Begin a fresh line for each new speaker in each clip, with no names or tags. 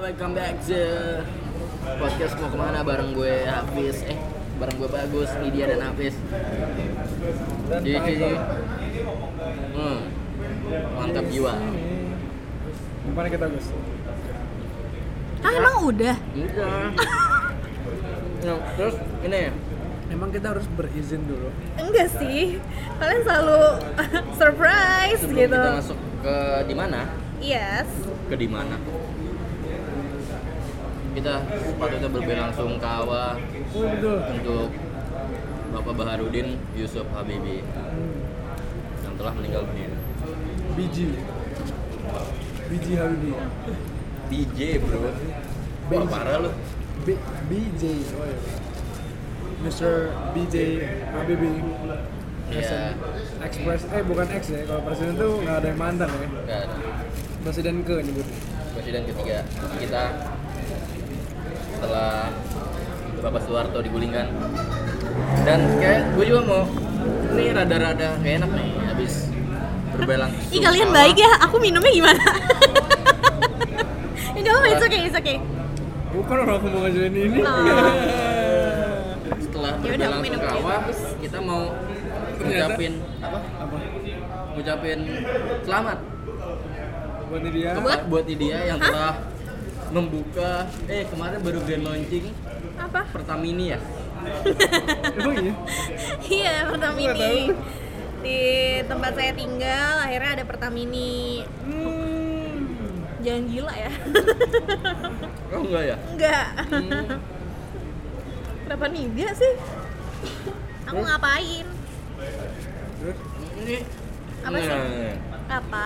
welcome back to podcast mau kemana bareng gue Hafiz eh bareng gue Bagus, Lydia dan Hafiz. Jadi jadi hmm, mantap jiwa.
Gimana kita Gus?
Ah emang udah?
Udah. Nah, terus ini
Memang kita harus berizin dulu.
Enggak sih. Kalian selalu surprise
sebelum
gitu.
kita masuk ke di mana?
Yes.
Ke di mana? Kita sepatutnya berbelasungkawa
Oh betul.
untuk Bapak Baharudin Yusuf Habibi yang telah meninggal dunia.
Biji. Biji Harudi.
DJ bro, wah parah lu.
B BJ. Oh, iya. Mr. BJ ABB
Iya.
Express eh bukan X ya kalau presiden tuh nggak ada yang mantan ya
Nggak ada.
presiden ke nyebutnya
Presiden ketiga kita setelah Bapak Soeharto digulingkan dan kayak gue juga mau ini rada-rada kayak enak nih habis berbelang
Ih kalian baik ya. Aku minumnya gimana? Enggak apa-apa, it's okay, it's okay.
bukan orang aku mau ngajarin ini Iya.
Oh.
setelah
Yaudah, aku
berbelang
minum dulu.
sungkawa kita mau
Ternyata-
ngucapin apa
apa
ngucapin selamat
buat ini dia
kan?
Selamat buat Lydia yang telah membuka eh kemarin baru grand launching
Apa?
Pertamini ya
emang iya
Iya, Pertamini.
Nggak
Di tempat saya tinggal akhirnya ada Pertamini. Hmm, jangan gila ya.
oh enggak ya
Enggak.
Hmm.
Kenapa niga sih? Aku ngapain?
terus
ini
Apa sih?
Nah.
Apa?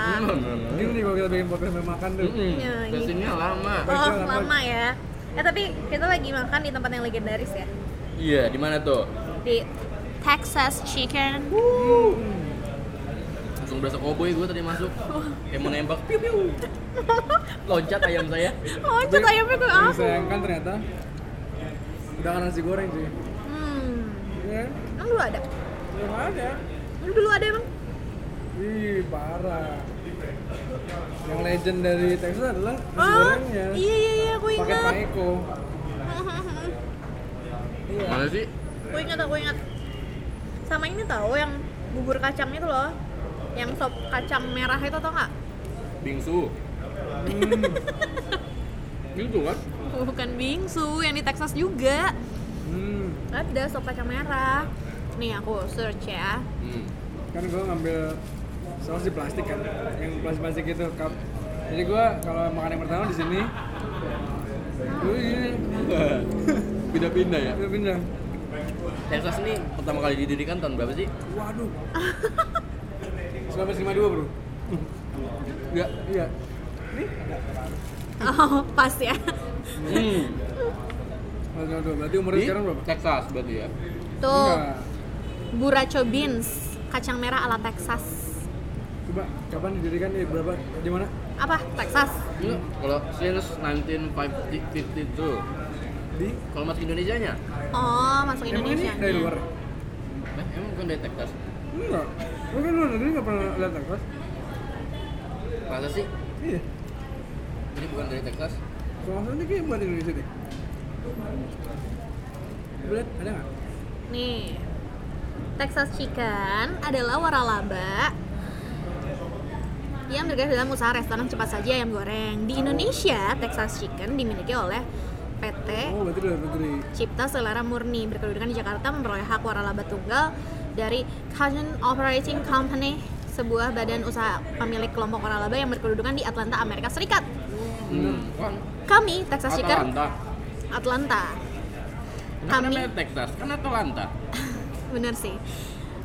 ini nih kalau kita bikin podcast sambil makan tuh
Ya,
Mm-mm.
ini.
Kesininya lama.
Oh, lama ya. Eh tapi kita lagi makan di tempat yang legendaris ya.
Iya, di mana tuh?
Di Texas Chicken.
Langsung berasa koboi gue tadi masuk. Kayak mau nembak. Piu piu. Loncat ayam saya.
Loncat Oh, ayamnya ah. kayak
yang
apa?
disayangkan ternyata udah kan nasi goreng sih
Hmm.
ya
Emang dulu ada?
belum ada
Emang dulu ada emang?
Ih, parah. Yang legend dari Texas adalah nasi
Oh,
gorengnya.
iya iya iya, aku
Pakai
ingat.
Pak Eko. Iya.
Mana sih?
Aku ingat, aku ingat. Sama ini tahu yang bubur kacang itu loh. Yang sop kacang merah itu tau nggak?
Bingsu.
Hmm.
gitu kan?
Oh, Bukan bingsu, yang di Texas juga.
Hmm.
Ada sop kacang merah. Nih aku search ya.
Hmm.
Kan gua ngambil saus di plastik kan, yang plastik-plastik itu cup. Jadi gua kalau makan yang pertama di sini, gua ini
Pindah-pindah ya.
gua pindah.
Texas ini pertama kali didirikan tahun berapa sih?
Waduh. 1952 bro.
Enggak.
Iya.
Oh, pas ya.
Hmm.
1952. Berarti umurnya
Di
sekarang berapa?
Texas berarti ya.
Tuh,
Enggak.
buracho beans, kacang merah ala Texas.
Coba kapan didirikan di berapa? Di mana?
Apa? Texas.
Enggak. Kalau since 1952.
Di
Kalau masuk Indonesianya?
Oh, masuk
Emang ini
Indonesia.
dari luar? ya?
Eh, emang bukan dari Texas.
Enggak. Lu kan luar negeri nggak pernah lihat Texas?
Masa sih?
Iya.
Ini bukan dari Texas.
Kalau nggak salah ini kayak buat Indonesia deh. Lu lihat ada nggak?
Nih. Texas chicken adalah waralaba yang bergerak dalam usaha restoran cepat saji ayam goreng. Di Indonesia, Texas chicken dimiliki oleh PT
Oh, berarti luar negeri.
Cipta Selera Murni berkedudukan di Jakarta memperoleh hak waralaba tunggal dari Cajun Operating Company, sebuah badan usaha pemilik kelompok waralaba yang berkedudukan di Atlanta, Amerika Serikat.
Hmm. Kan
Kami, Texas Chicken,
Atlanta.
Atlanta.
Kami
Kami-
namanya Texas, kan Atlanta.
Bener sih.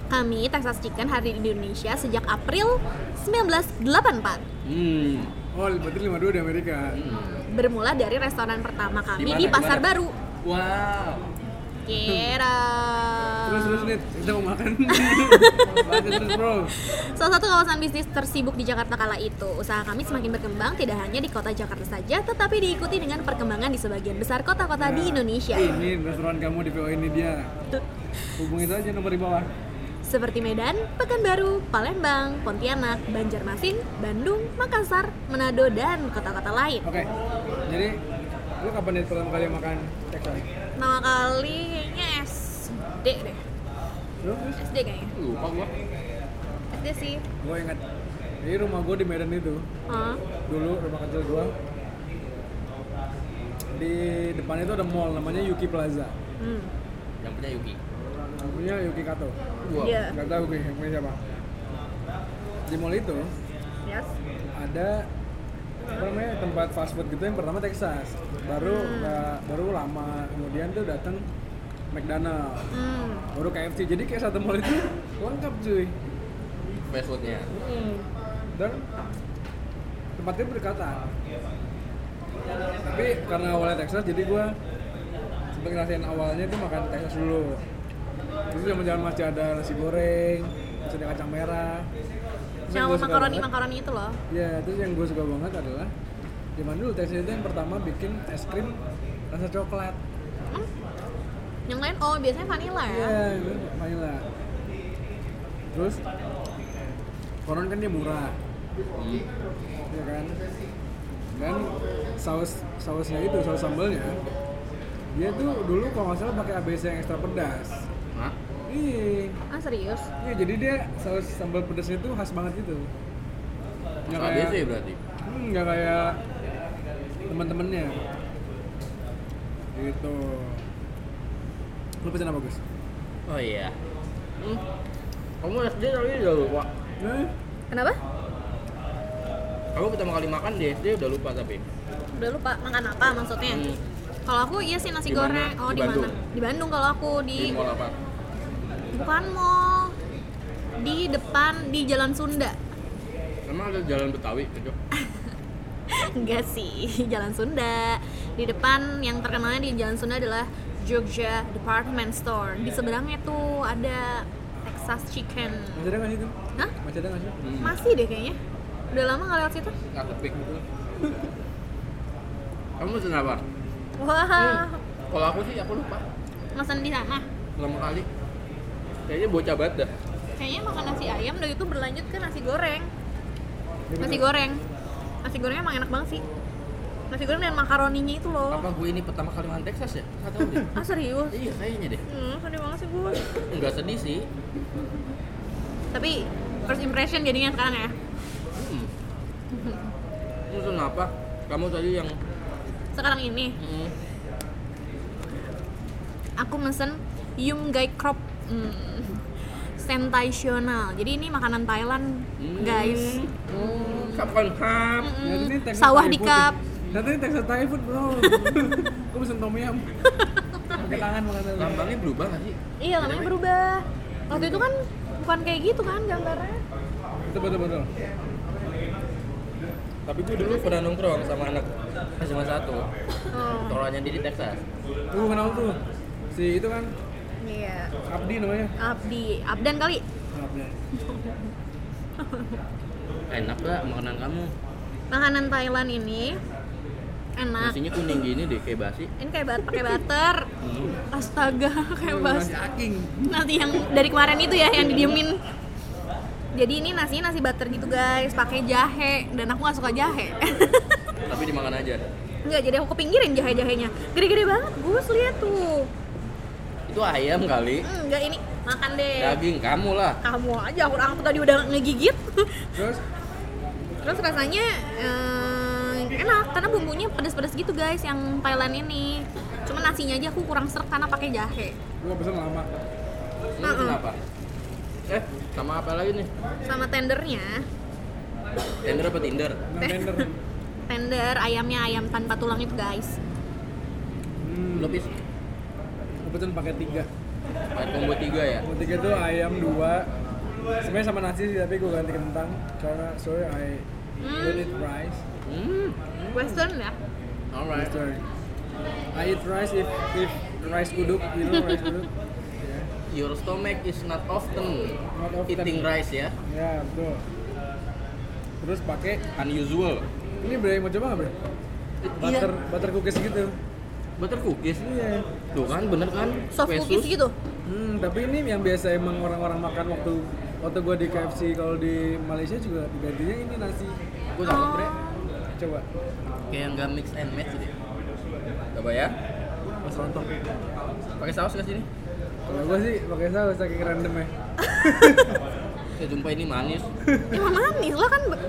Kami, Texas Chicken, hadir di Indonesia sejak April 1984.
Hmm.
Oh, berarti 52 di Amerika.
Hmm.
Bermula dari restoran pertama kami
Di mana?
di
Di
Pasar
mana?
Baru.
Wow.
Kira.
Terus terus nih, kita mau makan. Lanjut terus, Bro.
Salah satu kawasan bisnis tersibuk di Jakarta kala itu, usaha kami semakin berkembang tidak hanya di kota Jakarta saja, tetapi diikuti dengan perkembangan di sebagian besar kota-kota
Nah,
di Indonesia.
Ini restoran kamu di PO ini dia. Hubungi saja nomor di bawah.
seperti Medan, Pekanbaru, Palembang, Pontianak, Banjarmasin, Bandung, Makassar, Manado, dan kota-kota lain.
Oke, jadi lu kapan nih pertama kali makan tekstil?
Pertama kali kayaknya SD deh.
Lu? Terus?
SD kayaknya.
lupa gua
SD sih.
Gue ingat, jadi rumah gue di Medan itu
Heeh.
dulu rumah kecil gue di depan itu ada mall namanya Yuki Plaza
Hmm.
yang punya Yuki
namanya Yuki Kato
gua
Iya.
nggak tahu gue yang punya siapa di mall itu
Yes.
ada apa namanya tempat fast food gitu yang pertama Texas baru nggak- baru lama kemudian tuh datang McDonald
Hmm.
baru KFC jadi kayak satu mall itu lengkap cuy
fast foodnya
dan tempatnya berdekatan tapi karena awalnya Texas jadi gue sempet ngerasain awalnya tuh makan Texas dulu terus zaman zaman masih ada nasi goreng masih ada kacang merah Terus yang
Yang
gua suka
makaroni
banget-
makaroni itu loh.
ya terus yang gue suka banget adalah zaman dulu Texas itu yang pertama bikin es krim rasa coklat
Hmm. Yang lain oh biasanya vanilla ya.
Iya, vanilla. Terus koron kan dia murah.
Hmm.
Iya kan? Dan saus sausnya itu, saus sambalnya dia tuh dulu kalau nggak salah pakai ABC yang ekstra pedas.
Hah?
Iya.
Ah serius?
Iya, jadi dia saus sambal pedasnya tuh khas banget gitu. Nggak
Nggak ya?
kayak-
ABC berarti
Hmm, nggak kayak teman-temannya. Gitu. Lu pesan apa, Gus?
oh iya hmm. kamu SD tapi udah lupa
Nah,
Kenapa?
kamu pertama kali makan di SD udah lupa tapi
Udah lupa makan apa maksudnya?
Hmm.
Kalau aku iya sih nasi
Di mana?
goreng. Oh
Di
di mana?
Bandung.
Di Bandung kalau aku
di
di
mall apa
bukan mall di depan di Jalan Sunda.
emang ada jalan Betawi gitu
Enggak sih, Jalan Sunda. Di depan yang terkenalnya di Jalan Sunda adalah Jogja Department Store.
Iya,
Di seberangnya tuh ada Texas Chicken.
masih ada nggak sih itu?
Hah?
Masih ada nggak sih?
hmm.
Masih deh kayaknya. Udah lama nggak lewat situ?
nggak kepik gitu kamu pesen apa
Wah,
kalau aku sih aku lupa
pesan di sana.
lama kali kayaknya bocah banget dah
Kayaknya makan nasi ayam udah itu berlanjut ke nasi goreng.
Iya.
Nasi goreng. Nasi gorengnya emang enak banget sih. Nasi goreng dan makaroninya itu loh.
apa gue ini pertama kali makan Texas ya nggak tahu deh
Ah serius?
iya kayaknya deh
Hmm, sedih banget sih gue.
nggak sedih sih
Tapi first impression jadinya sekarang ya.
hmm. Terus kenapa kamu tadi yang
Sekarang ini
hmm,
aku mesen Yum Gai Krop hmm, sensasional. Jadi ini makanan Thailand,
hmm,
guys.
hmm, kapan hap
Ternyata Nah, Ya,
Mm-mm.
ini Texas
Sawah
Thai
di
food
cup.
ya. Ternyata ini Texas Thai food bro. Gue pesen tom yum. Pakai tangan makan tangan.
lambangnya berubah nggak sih
Iya, namanya berubah. Waktu itu kan bukan kayak gitu kan gambarnya.
Itu betul-betul.
tapi gue dulu pernah nongkrong sama anak SMA satu
Oh,
tolanya di Texas
Gue kenal tuh. Si itu kan
iya.
Abdi namanya.
Abdi, Abdan kali.
Abdi.
enak lah makanan kamu
Makanan Thailand ini enak.
nasinya kuning gini deh kayak basi
Ini kayak bat pakai butter.
hmm.
Astaga, kayak bas.
Masih aking.
Nanti yang dari kemarin itu ya yang didiemin. Jadi ini nasinya nasi butter gitu guys, pakai jahe dan aku nggak suka jahe.
tapi dimakan aja
Enggak, jadi aku kepinggirin jahe-jahenya. Gede-gede banget, Gus, lihat tuh.
itu ayam kali
Enggak ini makan deh.
daging kamu lah
Kamu aja aku aku tadi udah ngegigit.
Terus
Terus rasanya eh, enak karena bumbunya pedas-pedas gitu guys yang Thailand ini. Cuma nasinya aja aku kurang serk karena pakai jahe.
gue pesen lama. Nah,
Ini
Mm-mm.
kenapa? Eh, sama apa lagi nih?
Sama tendernya,
Tender apa Tinder?
Nah tender.
tender ayamnya ayam tanpa tulang itu guys.
Hmm.
Lo pis?
Gue pesen pakai tiga.
Pakai combo tiga ya?
Yang Tiga tuh ayam dua. Sebenarnya sama nasi sih tapi gue ganti kentang karena sorry I don't eat rice.
Hmm,
Western ya.
alright
Sorry. I eat rice if if rice uduk, you know rice uduk.
Your stomach is not often,
Not often.
eating rice ya?
Ya betul. Terus pakai
Unusual
ini bre mau coba nggak bre? Butter butter cookies gitu.
Butter cookies?
Iya.
Tuh kan, bener kan?
Soft
Kue
cookies
sus.
gitu.
Hmm, tapi ini yang biasa emang orang-orang makan waktu waktu gua di KFC kalau di Malaysia juga digantinya ini nasi.
Gue
Oh.
takut bre,
Coba
kayak nggak mix and match gitu. Coba ya,
Mas Rontok.
pakai saus nggak sini?
Kalau gua sih pakai saus saking random ya.
Saya jumpa ini manis.
Cuma Oh. manis lo kan be-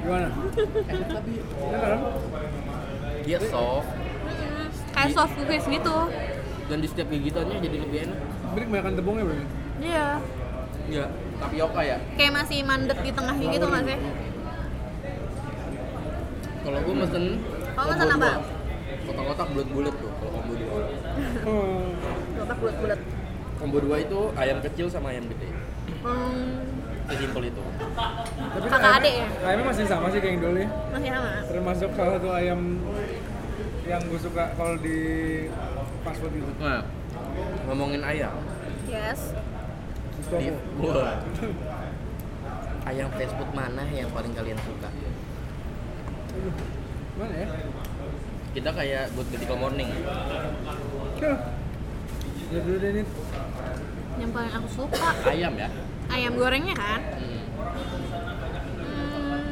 Gimana?
Enak tapi
Ini kan?
dia soft
kayak soft cookies gitu.
dan di setiap gigitannya jadi lebih enak.
Beri kebanyakan tepungnya berarti.
Iya.
Iya, tapioka ya.
Kayak masih mandet di tengahnya gitu nggak sih?
Kalau gue mesen
Kalau mesen apa?
Kotak-kotak bulat-bulat tuh kalau combo dua.
Oh.
Kotak bulat-bulat.
Combo dua itu ayam kecil sama ayam gede.
Hmm,
Sesimpel itu.
Tapi
Kakak
ayamnya-
adik ya?
Ayamnya masih sama sih kayak yang dulu ya.
masih sama.
Termasuk salah satu ayam yang gue suka kalau di fast food gitu.
Nah, ngomongin ayam.
Yes.
Suka
Di,
kok.
Wah. ayam fast food mana yang paling kalian suka?
Mana ya?
Kita kayak good critical morning.
Huh. Ya dulu deh ini.
Yang paling aku suka
Ayam ya.
ayam gorengnya kan.
Hmm.
Hmm,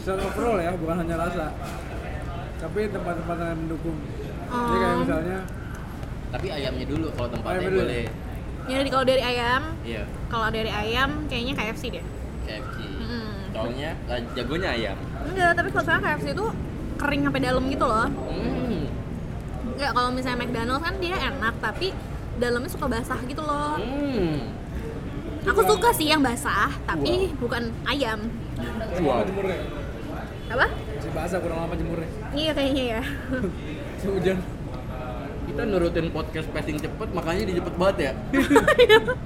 Secara overall ya, bukan hanya rasa. Tapi tempat-tempat yang mendukung. Jadi kayak
Om.
misalnya
Tapi ayamnya dulu kalau tempatnya
Ayam dulu.
boleh.
jadi kalau dari ayam,
Iya,
kalau dari ayam kayaknya KFC deh.
KFC.
Hmm.
Soalnya eh, jagonya ayam.
Enggak, tapi kalau sekarang KFC itu kering sampai dalam gitu loh.
Hmm.
Enggak, kalau misalnya McDonald's kan dia enak, tapi dalamnya suka basah gitu loh.
Hmm.
Aku suka sih yang basah, tapi bukan ayam.
kurang lama
Wow.
jemurnya.
Apa?
Masih basah kurang lama jemurnya.
Iya kayaknya ya.
Si hujan.
Kita nurutin podcast passing cepet, makanya di cepet banget ya.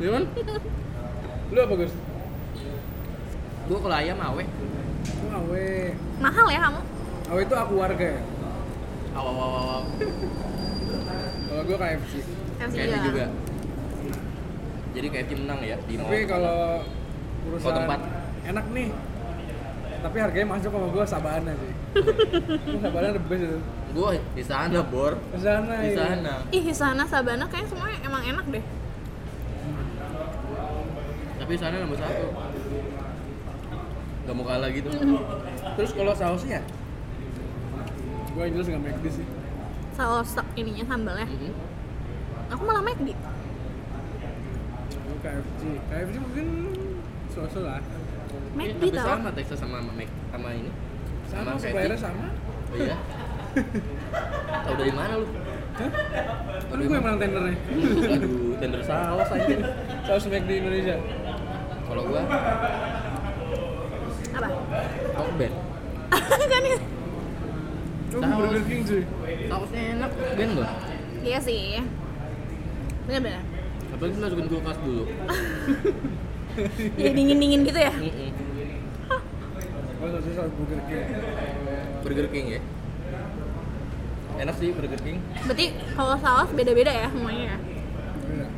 Iya kan?
Lu apa Gus?
Gue kalau ayam awe,
Lu awe.
Mahal ya kamu?
Awe itu aku warga ya.
aw aw aw aw.
Kalau gue KFC.
KFC
KFC juga.
juga.
Jadi KFC menang ya di
Tapi
mall.
kalau urusan
Kalau tempat.
enak nih. Tapi harganya masuk sama gue sabana sih. sabana the best itu. iya.
Gue di sana bor,
Sabana.
di sana.
Ih, Hisana Sabana kayaknya semuanya emang enak deh.
Tapi di sana nomor satu. Gak mau kalah gitu. Terus kalau sausnya?
Gue yang jelas nggak McD sih.
Saus ininya sambalnya.
Mhm.
Aku malah McD.
Iya,
Gue KFC. KFC mungkin sosok lah.
McD
Ini tapi
tau.
sama Texas sama Mac sama ini.
Sama,
KFC.
suppliernya sama.
Oh iya. Tahu dari mana lu?
Hah?
Tahu
Kan
dari
gue yang
mana?
menang tendernya.
Aduh, tender saus aja.
Saus McD Indonesia.
Kalau gua
Apa?
Tokben.
kan ya?
Lu
Saus.
Burger King sih.
Sausnya enak, Ben gua.
Iya sih. Bener-bener.
Apalagi masukin kulkas dulu.
Jadi dingin-dingin gitu ya.
Mm-mm.
Oh, sausnya saus Burger King.
Burger King ya. Enak sih Burger King.
Berarti kalau saus beda-beda ya semuanya. ya?
Iya.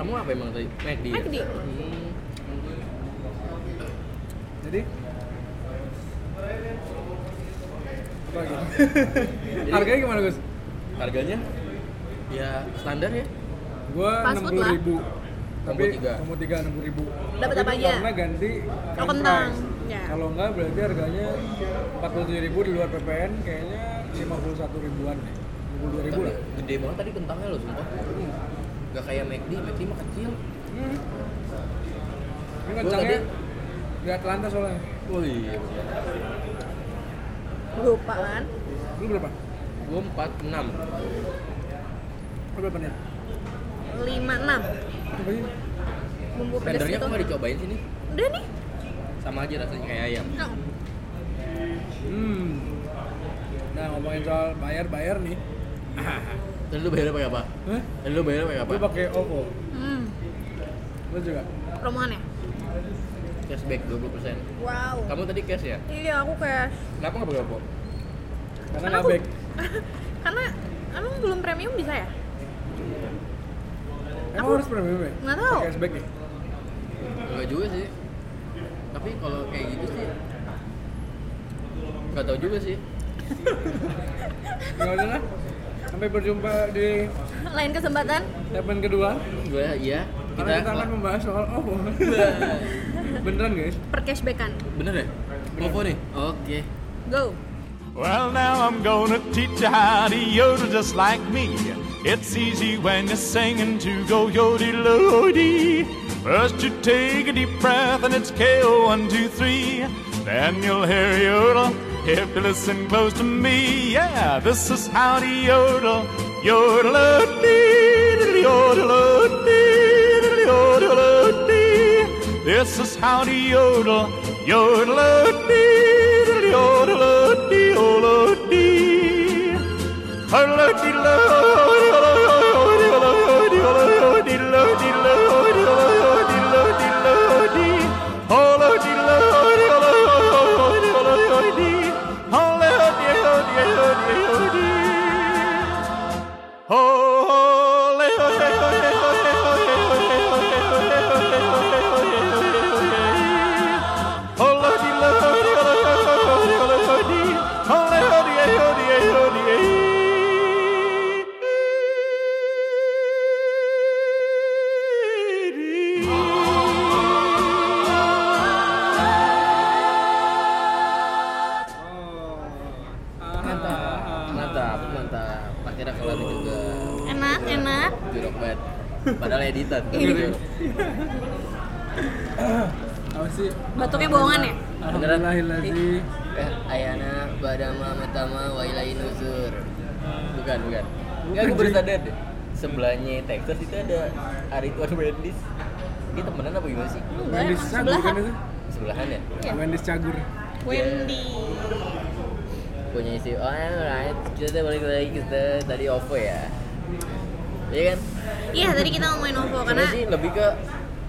Kamu apa emang tadi? McD. ya?
McD.
Hmm.
Jadi apa lagi?
Jadi-
Harganya gimana Gus?
Harganya ya standar ya.
Gua
Fast
enam
food
puluh
lah.
ribu. Tapi
Combo tiga.
kamu tiga enam puluh ribu.
Dapat
Tapi
apa
itu
aja?
Karena ganti
Oh,
french
kentang.
fries.
Ya.
Kalau enggak berarti harganya empat puluh ribu di luar PPN kayaknya lima puluh satu ribuan deh. Lima puluh dua ribu
Tapi
lah.
gede banget tadi kentangnya loh sumpah. Gak kayak McD, McD mah kecil.
Hmm. Ini
Gua
kentangnya
tadi-
di Atlanta soalnya.
Oh iya.
Lupa kan?
Lu berapa?
Gua 4 6.
Lu berapa nih?
5 6
Apa sih?
bumbu pedas
Tendernya
gitu.
kok nggak dicobain sini?
Udah nih.
Sama aja rasanya kayak ayam.
Oh,
Hmm. Nah ngomongin soal bayar-bayar nih.
Dan lu bayarnya pakai apa?
Hah?
Dan lu bayarnya pakai apa?
Lu pakai OVO.
Hmm.
Lu juga.
Rombongan ya?
Cashback 20%.
Wow.
Kamu tadi cash ya?
Iya, aku kayak
Kenapa nggak pakai apa?
Karena nggak back.
karena emang belum premium bisa ya?
Emang
Aku-
harus premium ya?
Nggak tahu.
Pakai cashback ya?
Enggak juga sih. Tapi kalau kayak gitu sih nggak tahu juga sih.
Ya udah lah. Sampai berjumpa di
Lain kesempatan.
segmen kedua.
Gue iya.
Karena kita akan membahas soal OVO.
iya.
Beneran guys.
Per cashbackan.
Bener ya? Ovo nih? Oke.
Go.
Well, now I'm gonna teach you how to yodel just like me. It's easy when you're singing to go yodel lody. First you take a deep breath and it's KO one two three. Then you'll hear yodel if you listen close to me. Yeah, this is how to yodel. Yodel lody, yodel lody, yodel This is how to yodel. Yodel
Oh. Ah,
Mantap, mantap. Akhirnya kelar juga.
Enak, enak.
Jorok banget. Padahal editan.
Apa sih?
Batuknya bohongan ya?
Alhamdulillahilladzi.
Eh, Ayana badama matama wa ilaihi nuzur. Bukan, bukan. Enggak, gue baru sadar deh. Sebelahnya Texas itu ada Arituan Brandis. Dia temenan apa gimana sih?
Enggak,
Wendy's
emang
Cagur
sebelahan.
kan itu?
Sebelahan ya?
Iya.
Wendy's Cagur.
Wendy.
Punya isi, oh alright, kita tuh balik lagi kita tadi OVO ya Iya kan?
Oh,
Iya, tadi kita ngomongin OVO karena
Karena sih lebih ke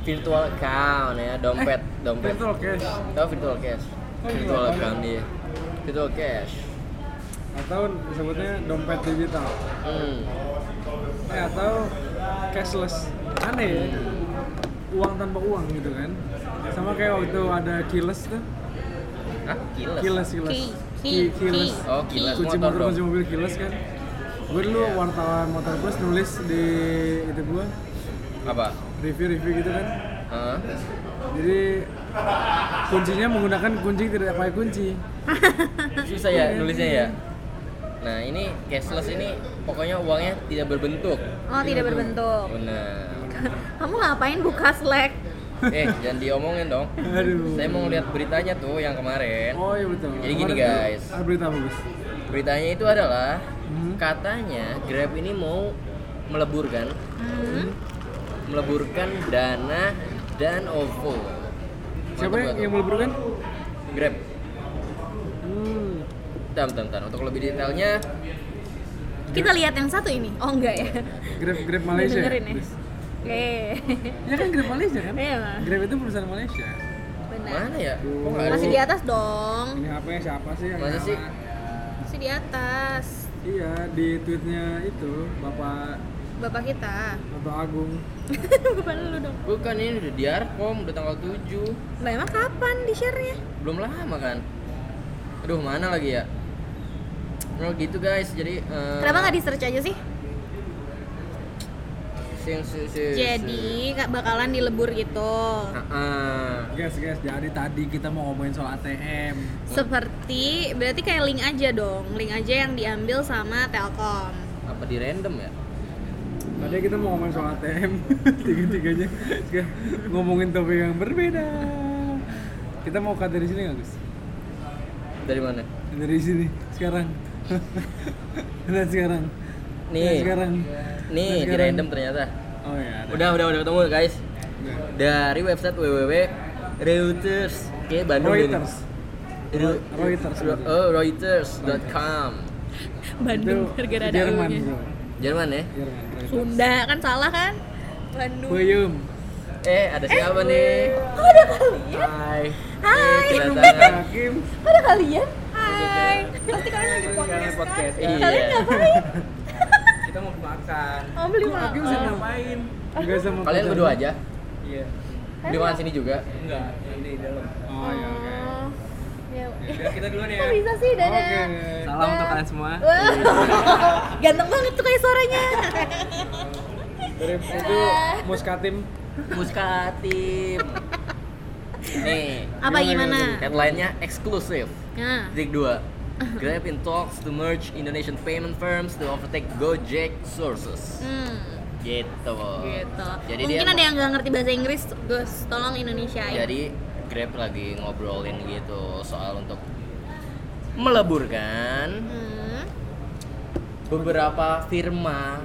virtual account ya, dompet, dompet
Virtual Eh, cash
Oh virtual cash
Oh,
Virtual
iya.
account dia Virtual cash
atau disebutnya dompet digital.
Hmm,
Eh, atau cashless. Aneh ya. Uang tanpa uang gitu kan. Sama kayak waktu itu ada keyless tuh.
Hah? Kiles?
Kiles, kiles.
Key, key,
Key, keyless.
key.
Oh kiles
Kunci
motor dong
motor,
Iya.
kunci mobil kiles kan. Gue dulu wartawan motor plus nulis di itu gue
Apa?
review-review gitu kan.
Hah?
Jadi kuncinya menggunakan kunci tidak pakai kunci.
Susah ya nulisnya ya? Nah ini cashless ini pokoknya uangnya tidak berbentuk
oh tidak berbentuk.
Benar
Kamu ngapain buka Slack?
Eh jangan diomongin dong
Aduh.
Saya mau lihat beritanya tuh yang kemarin
Oh iya betul.
Jadi gini,
Kemarin
guys.
tuh, Ah, berita bagus.
Beritanya itu adalah
Hmm.
katanya Grab ini mau meleburkan
Hmm.
meleburkan dana dan OVO. Mantap
Siapa yang, yang
nggak
meleburkan?
tuh? Grab.
Hmm.
Bentar, bentar, bentar. Untuk lebih detailnya
Kita lihat yang satu ini. Oh enggak ya?
Grab Grab Malaysia.
Dengerin ya. Oke.
Ya kan Grab Malaysia kan?
Iya lah.
Grab itu perusahaan Malaysia.
Benar.
mana ya? Kok nggak ada
Nah. Masih
sih?
di atas dong.
Ini HP-nya siapa sih yang
Masa
nyala?
sih?
Masih di atas.
Iya, di tweetnya itu Bapak
Bapak kita.
Bapak Agung.
Bapak lu dong.
Bukan ini udah di Arkom, udah tanggal 7.
Lah emang kapan di share-nya?
Belum lama kan? Aduh, mana lagi ya? Oh gitu guys, jadi eh,
Kenapa nggak di search aja sih?
sing- sing-
Iya,
sing-
Jadi nggak bakalan dilebur gitu.
Nah.
Ah, ah.
Guys, guys, jadi tadi kita mau ngomongin soal ATM.
Seperti berarti kayak link aja dong, link aja yang diambil sama Telkom.
apa di random ya?
Tadi kita mau ngomongin soal ATM, tiga-tiganya sekarang ngomongin topik yang berbeda. Kita mau cut dari sini nggak, Gus?
Dari mana?
Dari sini sekarang. Dan sekarang. Dan
Nih.
sekarang. Dan
Nih, di
sekarang.
random ternyata.
Oh ya. ada. Nah.
Udah, udah, udah ketemu guys.
Udah.
dari website www Reuters ke Bandung deh nih.
Reuters.
Ru-
Reuters.
Ru- oh, Reuters.com
Itu
Bandung gara-gara ada
Jerman,
U-nya.
bro.
Jerman ya
Jerman. Reuters.
Sunda kan salah kan? Bandung.
Puyum.
eh ada siapa nih
Kok
Iya,
ada kalian?
Hai
Hai.
Eh, kedatangan.
Hakim.
Kok ada
Iya,
kalian? Hai. Pasti kalian lagi podcast.
podcast.
Kan?
Iya.
Kalian ngapain?
Kita mau makan.
Oh beli
Kok Hakim sih
makan.
ngapain? Enggak sama
kalian
pacarnya.
berdua aja
Iya.
di makan sini juga
Enggak, nanti di dalam. Oh, iya oke.
Oh. Ya.
Biar kita duluan ya.
Kok bisa sih dadah?
Oke. iya.
Salam untuk kalian semua.
Wow. Ganteng banget tuh kayak suaranya.
Dari itu Muskatim.
Muskatim. Nih,
Gimana,
Apa gimana?
headline-nya eksklusif.
Nah,
Titik 2. Grab in talks to merge Indonesian payment firms to overtake Gojek sources.
hmm,
Gitu.
gitu.
Jadi
Mungkin
dia
ada yang nggak ngerti bahasa Inggris, Gus, tolong Indonesia.
jadi Grab lagi ngobrolin gitu soal untuk meleburkan
Hmm.
beberapa firma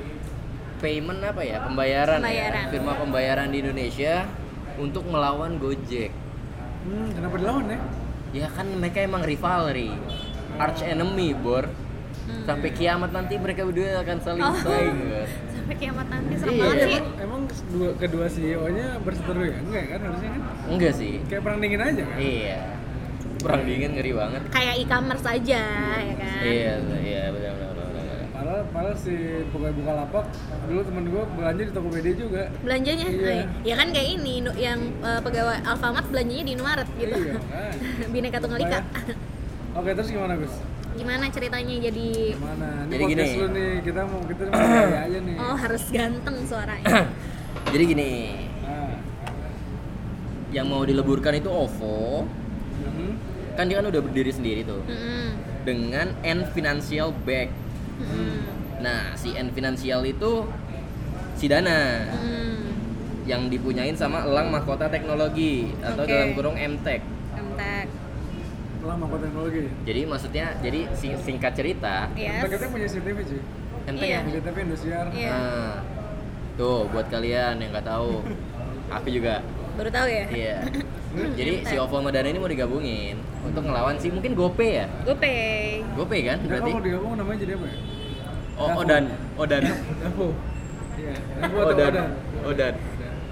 payment apa ya pembayaran,
Pembayaran.
ya firma pembayaran di Indonesia untuk melawan Gojek
Hmm, kenapa dilawan ya?
ya kan mereka emang rivalry arch enemy bor sampai kiamat nanti mereka berdua akan saling
Hmm. Oh.
saing
Sampai kiamat nanti serem
Iya.
banget sih.
Emang, emang kedua, kedua CEO-nya berseteru ya? Enggak kan harusnya kan?
enggak sih
Kayak perang dingin aja kan?
iya perang dingin ngeri banget
Kayak e-commerce aja, ya kan?
iya iya benar benar benar, benar.
Padahal, padahal si pegawai Bukalapak dulu temen gue belanja di Tokopedia juga.
Belanjanya,
Iya.
eh, ya kan kayak ini Indo- yang eh, pegawai Alfamart belanjanya di Indomaret gitu.
Iya kan?
Bineka Tunggal Ika.
Oke terus gimana Gus?
Gimana ceritanya jadi
Gimana? Ini
Jadi
podcast
gini.
lu nih, kita mau kita mau nanya aja nih.
Oh, harus ganteng suaranya.
jadi gini
Nah.
yang mau dileburkan itu OVO
Mhm.
kan dia kan udah berdiri sendiri tuh
Mm-mm.
dengan N Financial Back
Mm-mm.
nah si N Financial itu si Dana
Mm.
yang dipunyain sama Elang Mahkota Teknologi atau
Oke.
dalam kurung E MTech
Entek.
Lama kok teknologi.
Jadi maksudnya jadi sing- singkat cerita,
Yes.
Kita kita punya CCTV cuy.
ente
Iya.
ya.
Punya CCTV Indosiar.
Iya.
Nah, tuh buat kalian yang nggak tahu, aku juga.
Baru tahu ya?
Iya. Jadi si OVO sama Dana ini mau digabungin untuk ngelawan si mungkin GoPay ya.
GoPay.
GoPay kan
Nah,
berarti.
kalau digabung namanya jadi apa ya?
Oh, Odan, Odan.
Davo. Iya. Davo atau
Odan.
Odan?
Odan.
Dan-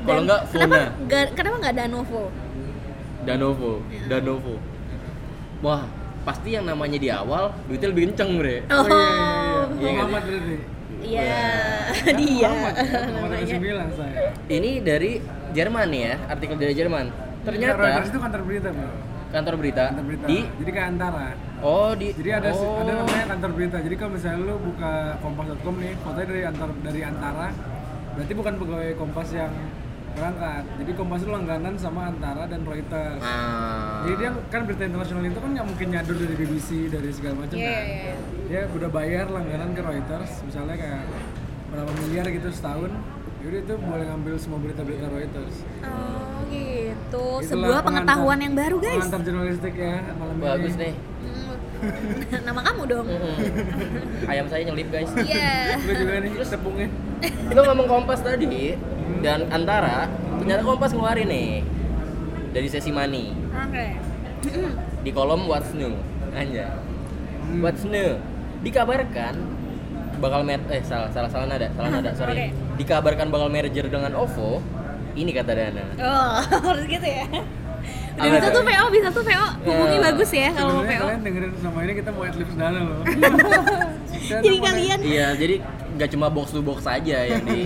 Kalau nggak
kenapa
Fona,
nggak- kenapa nggak Danovo?
Danovo,
Iya.
Danovo. Wah, pasti yang namanya di awal duitnya lebih kenceng, Bre.
iya,
Iya,
Oh,
nggak
Muhammad berarti.
iya, dia.
Muhammad. Muhammad
namanya.
sembilan saya.
Ini dari Jerman nih ya, artikel dari Jerman.
Reuters itu
Ternyata
kantor berita, Bro.
kantor berita,
Iya, Kantor berita.
di
Jadi kayak antara.
Oh di
Jadi ada si-
oh.
ada namanya kantor berita. Jadi kalau misalnya lu buka kompas.com nih, fotonya dari antar dari antara. Berarti bukan pegawai Kompas yang berangkat. Jadi Kompas itu langganan sama Antara dan Reuters.
Ah.
Jadi dia kan berita internasional itu kan nggak mungkin nyadur dari BBC dari segala macam
Iya,
kan.
iya, iya.
Dia udah bayar langganan ke Reuters, misalnya kayak berapa miliar gitu setahun. Yaudah itu boleh ngambil semua berita-berita Reuters.
Oh, gitu.
Itulah
Sebuah
pengantar-
pengetahuan yang baru, guys.
Pengantar jurnalistik ya malam ini.
bagus nih.
Hmm. Nama kamu dong.
Mm-mm. Ayam saya nyelip guys.
Iya.
Gue juga nih tepungnya.
Lo ngomong Kompas tadi dan Antara, ternyata Kompas ngeluarin nih dari sesi money
Oke.
di kolom What's New. Anja.
Hmm.
What's New? Dikabarkan bakal mer eh salah salah salah nada salah nada sorry
Oke.
dikabarkan bakal merger dengan OVO ini kata Dana
Oh, harus gitu ya. Udah
Apa
bisa
tuh?
tuh PO, bisa tuh PO. Hubungi
Ya.
bagus ya kalau mau
Sebenarnya
PO.
kalian dengerin sama ini kita mau adlibs dana loh.
Jadi kalian
Iya, jadi nggak cuma box to box aja yang di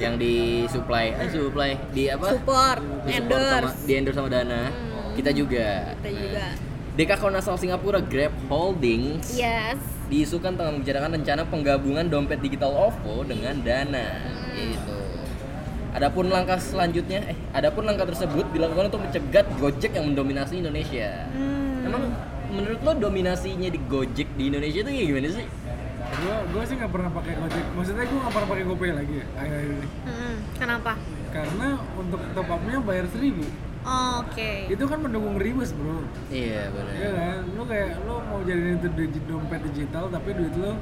yang di supply, eh, supply di apa?
support,
Di support
endorse.
sama, di endorse sama Dana.
Hmm.
Kita juga. Nah,
Kita juga.
DK Komnas HAM Singapura Grab Holdings
Yes.
diisukan tengah kan membicarakan rencana penggabungan dompet digital OVO dengan Dana. Gitu. Adapun langkah selanjutnya, eh, adapun langkah tersebut dilakukan untuk mencegat Gojek yang mendominasi Indonesia. Emang
Hmm.
menurut lo dominasinya di Gojek di Indonesia itu kayak gimana sih?
Gue gue sih nggak pernah pakai Gojek. Maksudnya gue nggak pernah pakai GoPay lagi ya, akhir-akhir ini.
Mm-mm. Hmm, Kenapa?
Karena untuk top up-nya bayar seribu.
Oke.
Itu kan mendukung ribes bro.
Iya benar.
Iya kan? Lu kayak lu mau jadiin itu di dompet digital tapi duit lu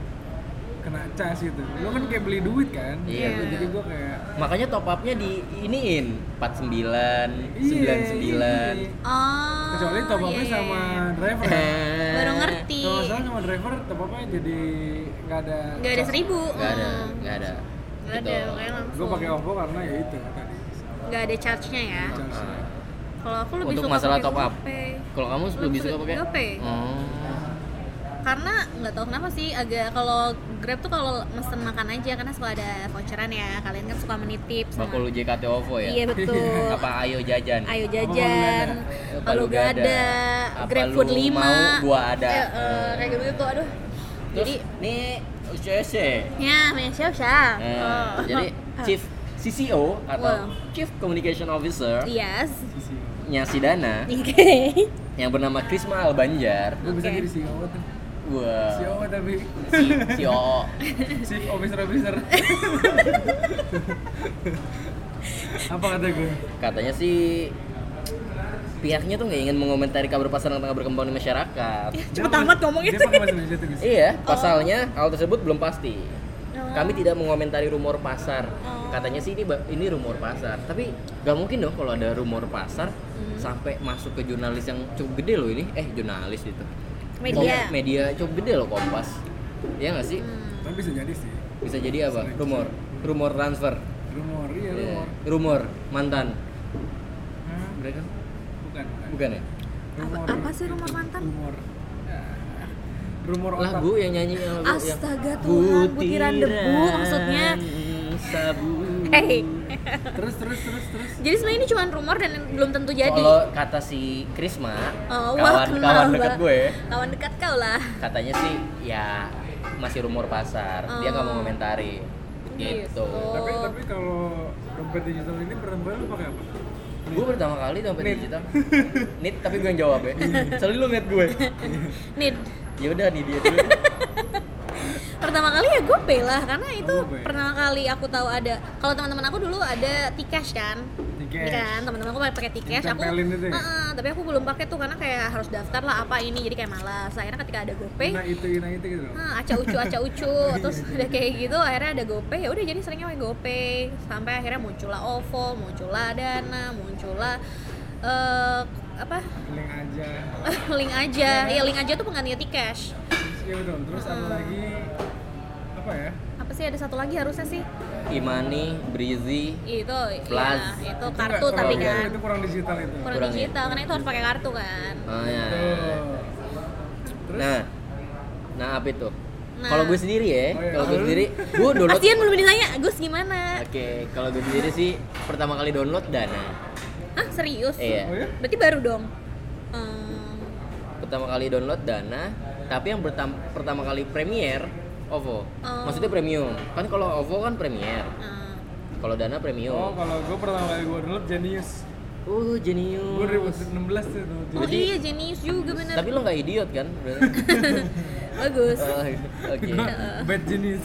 kena cas gitu. Lu kan kayak beli duit kan?
Iya.
Jadi gue kayak
Makanya top up-nya di iniin 49,
iya, iya.
99.
Oh.
Kecuali top
iya,
up-nya
iya,
sama
iya.
driver. ya.
Eh,
Baru ngerti.
Kalau nggak salah sama driver top up-nya jadi nggak ada
Gak ada
cas.
seribu.
Nggak ada,
Mm.
nggak ada.
Nggak ada,
Gitu.
makanya langsung.
Gue pakai OVO karena ya itu tadi.
Nggak ada charge-nya ya.
Ah.
Charge-nya.
Kalau aku lebih
Untuk
suka
masalah
pakai
top up.
GoPay.
Kalau kamu lebih suka pakai
GoPay.
Oh.
karena nggak tahu kenapa sih agak kalau Grab tuh kalau mesen makan aja karena suka ada voucheran ya. Kalian kan suka menitip sama-
Bakul lu JKT OVO ya?
Iya betul.
Apa ayo jajan?
Ayo
Palu
jajan,
Gada.
palu
Palu Gada.
gada,
Apa
GrabFood
lu
5
mau, gua ada.
Eh, eh, kayak gitu tuh, aduh.
Terus
Jadi
nih UCC.
ya, punya siap siap.
Nah,
Oh.
Jadi Chief CCO atau
Wow. Iya.
Chief Communication Officer
Yes.
nya Sidana
Oke.
yang bernama Krisma Albanjar.
Gue bisa
Oke.
jadi CEO tuh CEO
Wah.
tapi
Si- CEO.
Chief Officer Officer Apa kata gue?
Katanya sih pihaknya tuh nggak ingin mengomentari kabar pasar yang tengah berkembang di masyarakat.
Cepet
Dia
amat
pakai-
ngomongnya.
Dia pakai bahasa Indonesia tuh guys
Iya, pasalnya hal tersebut belum pasti.
Oh.
Kami tidak mengomentari rumor pasar.
Oh.
Katanya sih ini ba- ini rumor pasar. Tapi nggak mungkin dong kalau ada rumor pasar
Hmm.
sampai masuk ke jurnalis yang cukup gede loh ini. Eh, jurnalis itu.
Media. Hmm.
Kom- media cukup gede loh Kompas. Iya nggak sih?
Tapi bisa jadi sih
Bisa jadi apa? Rumor. Rumor transfer.
Rumor, iya
Iya.
rumor
Rumor mantan.
Hah?
Mereka
Bukan, bukan
bukan ya?
Apa,
Rumor
apa sih rumor mantan?
Rumor Ya. Rumor otak
Lagu yang nyanyi yang lagu yang-
Astaga, Tuhan, butiran debu maksudnya. Eh,
Butiran Sabu.
Hey.
Terus, terus, terus, terus
Hmm. Jadi sebenarnya ini cuma rumor dan belum tentu jadi.
Kalau kata si Krisma,
Oh, wah, kenal
kawan-kawan dekat
banget.
ya.
gue,
Kawan dekat kau lah.
katanya sih ya masih rumor pasar, dia nggak mau
Oh.
komentari gitu.
Gitu.
Tapi, tapi kalau dompet digital ini pertama kali lu pakai apa?
Gue pertama kali dompet digital, nit tapi gue yang jawab ya. Soalnya lu ngeliat gue,
Nih,
ya udah nih dia dulu.
pertama kali ya gue lah karena itu
Oh, GoPay.
pertama kali aku tahu ada kalau teman-teman aku dulu ada T-Cash kan
T-Cash.
Iya kan teman-teman aku pakai T-Cash aku
Ditempelin itu ya?
Heeh, tapi aku belum pakai tuh karena kayak harus daftar lah apa ini jadi kayak malas akhirnya ketika ada GoPay
Nah itu, nah itu gitu loh
Nah, aca ucu aca ucu terus udah kayak gitu akhirnya ada GoPay ya udah jadi seringnya pakai GoPay sampai akhirnya muncullah OVO muncullah Dana muncullah eh apa
Link aja
link
Iya,
aja ya link aja tuh penggantinya T-Cash
Terus, iya dong, terus
Hmm.
ada lagi Apa ya?
apa sih ada satu lagi harusnya sih
Imani, Breezy,
itu
Plus.
ya,
Itu
itu kartu
nggak-
tapi
kurang-
kan
Itu kurang digital itu
kurang
ya. Kurang ya?
digital karena itu harus pakai kartu kan
oh, ya.
Tuh. Terus?
nah, nah apa itu?
Nah.
Kalau gue sendiri ya,
Oh, iya.
kalau gue sendiri, gue download.
kasian belum ditanya Gus gimana
Oke, kalau gue sendiri sih pertama kali download Dana.
Hah serius
Iya.
Oh ya?
berarti baru dong Hmm,
pertama kali download Dana, tapi yang bertam- pertama kali Premiere OVO.
Oh.
Maksudnya premium. Kan kalau OVO kan Premiere.
hmm.
Kalau Dana
Oh,
premium.
kalau gue pertama kali gue download Genius
Uh,
Hmm.
Gue
jenius.
2016 tuh download
oh
Genius
Jadi-
iya jenius juga bener
Tapi lo nggak idiot kan? Bro?
bagus
Oh,
Iya.
Oke.
Gua Bad Genius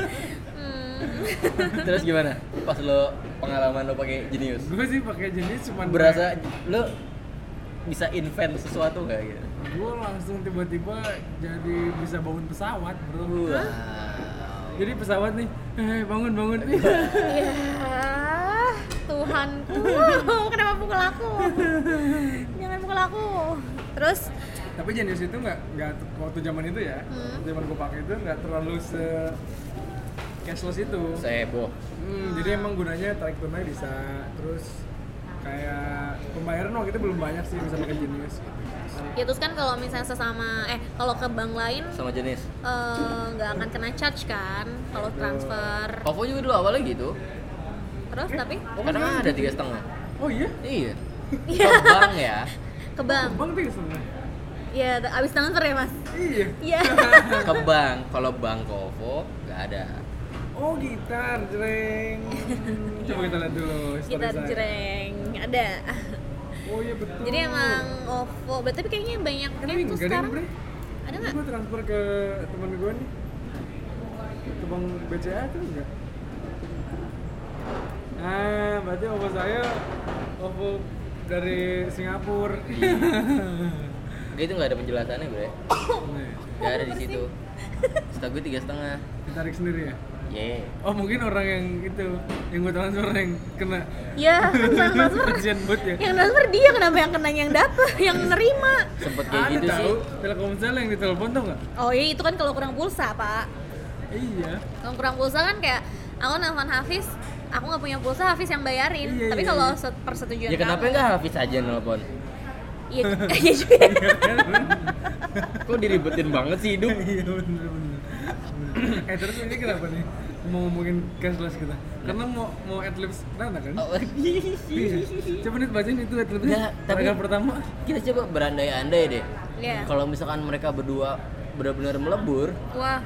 Hmm.
Terus gimana? Pas lo pengalaman lo pakai jenius.
Gue sih pakai Genius cuman
Berasa lo bisa invent sesuatu nggak gitu?
Gue langsung tiba-tiba jadi bisa bangun pesawat bro
Wow.
Jadi pesawat nih, eh bangun bangun
ya Tuhanku kenapa pukul aku jangan pukul aku terus
tapi Genius itu nggak nggak waktu zaman itu ya
Hmm.
zaman gue pakai itu nggak terlalu se cashless itu
Seheboh.
Hmm, jadi emang gunanya tarik tunai bisa terus kayak pembayaran waktu itu belum banyak sih bisa pakai Genius gitu.
ya terus kan kalau misalnya sesama eh kalau ke bank lain
Sama jenis.
eh, nggak akan kena charge kan kalau transfer
OVO juga dulu awalnya gitu.
terus tapi
Karena ada tiga setengah.
oh iya
Iya.
Iya.
Kebang ya.
ke bank
bang tuh sebenarnya
ya t- abis transfer ya mas
iya
iya
ke bank kalau bank kovo nggak ada
oh gitar jreng coba kita lihat dulu story
kita
saya.
jereng ada
oh iya betul
jadi emang OVO But- tapi kayaknya banyak
kan nggak ada
yang tuh
yang
sekarang
bre
ada nggak
gue transfer ke teman gue nih ke bank BCA tuh enggak ah berarti OVO saya OVO dari Singapura
itu nggak ada penjelasannya bre
Nih,
nggak ada di situ setahu gue tiga setengah
ditarik sendiri ya
ye
oh mungkin orang yang itu yang gue transfer yang kena
ya kan transfer
kasihan buat ya
yang transfer dia kenapa yang kenanya yang dapet yang nerima
sempet kayak
ada
gitu
tahu
sih
Telkomsel yang ditelepon tau nggak
oh iya itu kan kalau kurang pulsa pak
iya
kalau kurang pulsa kan kayak aku nelfon Hafiz aku nggak punya pulsa Hafiz yang bayarin
Iya,
tapi
iya,
kalau
iya.
set- persetujuan
ya kenapa
kamu-
nggak Hafiz aja nelpon
iya iya juga
Iya kan?
Kok diribetin banget sih hidup?
Iya bener bener. bener. eh terus ini kenapa nih mau ngomongin cashless kita? Karena mau mau adlibs Nana kan?
Oh,
Iya. Coba nih bacain itu adlibsnya.
Nggak, tapi-
Paragraf pertama.
Kita coba berandai-andai deh.
Iya.
Kalau misalkan mereka berdua benar-benar melebur,
Wah,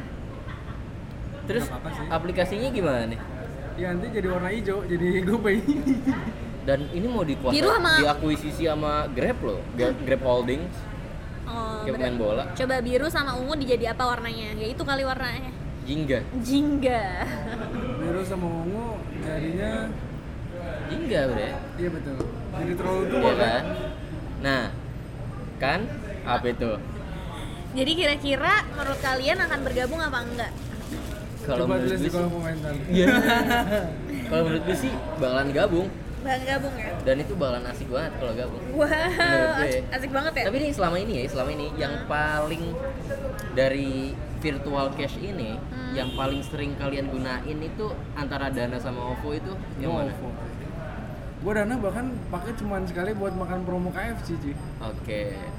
terus
Nggak apa-apa sih.
aplikasinya gimana nih?
Ya nanti jadi warna hijau, jadi GoPay.
Dan ini mau dikuasai,
Biru sama-
diakuisisi sama Grab loh, Gra- Grab Holdings,
oh,
kayak
bener.
pemain bola.
Coba biru sama ungu dijadi apa warnanya? Ya itu kali warnanya.
Jingga,
Jingga.
Biru sama ungu jadinya
jingga bre.
iya betul. Jadi terlalu tua
Iya
kan?
kan? Nah, kan apa itu?
Jadi kira-kira menurut kalian akan bergabung apa enggak?
Kalau
Coba
menurut
tulis di
gue
kolom
sih,
komentar.
Iya. kalau menurut gue sih bakalan gabung
Bang gabung ya?
dan itu bakalan asik banget kalau gabung. Menurut
Wow,
gue ya.
asik, asik banget ya.
Tapi ini selama ini ya, selama ini yang paling dari virtual cash ini
Hmm.
yang paling sering kalian gunain itu antara Dana sama OVO itu yang mana? Oke.
Gue dana bahkan pakai cuman sekali buat makan promo KFC cuy.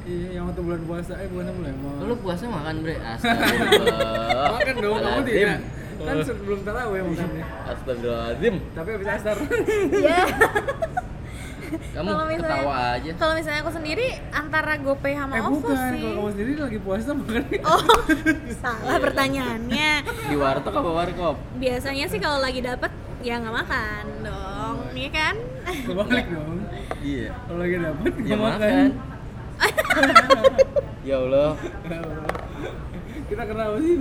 Iya, yang waktu bulan puasa, eh bukan bulan puasa.
Lu puasa makan bre? Astagfirullah.
makan dong kamu tidak kan sebelum taraweh makannya
Astagfirullahaladzim.
tapi habis asar Eh,
Ya.
Kamu
Kalau misalnya-
ketawa aja.
Kalau misalnya aku sendiri antara GoPay sama
eh
OVO
bukan
sih.
kalau kamu sendiri lagi puasa makan
Oh, salah pertanyaannya.
Di warteg apa warkop?
Biasanya sih kalau lagi dapet ya nggak makan dong, iya kan?
kebalik dong
Iya.
kalau lagi dapet
Ya
nggak makan
makan. ya Allah.
Ya Allah. kita kenapa sih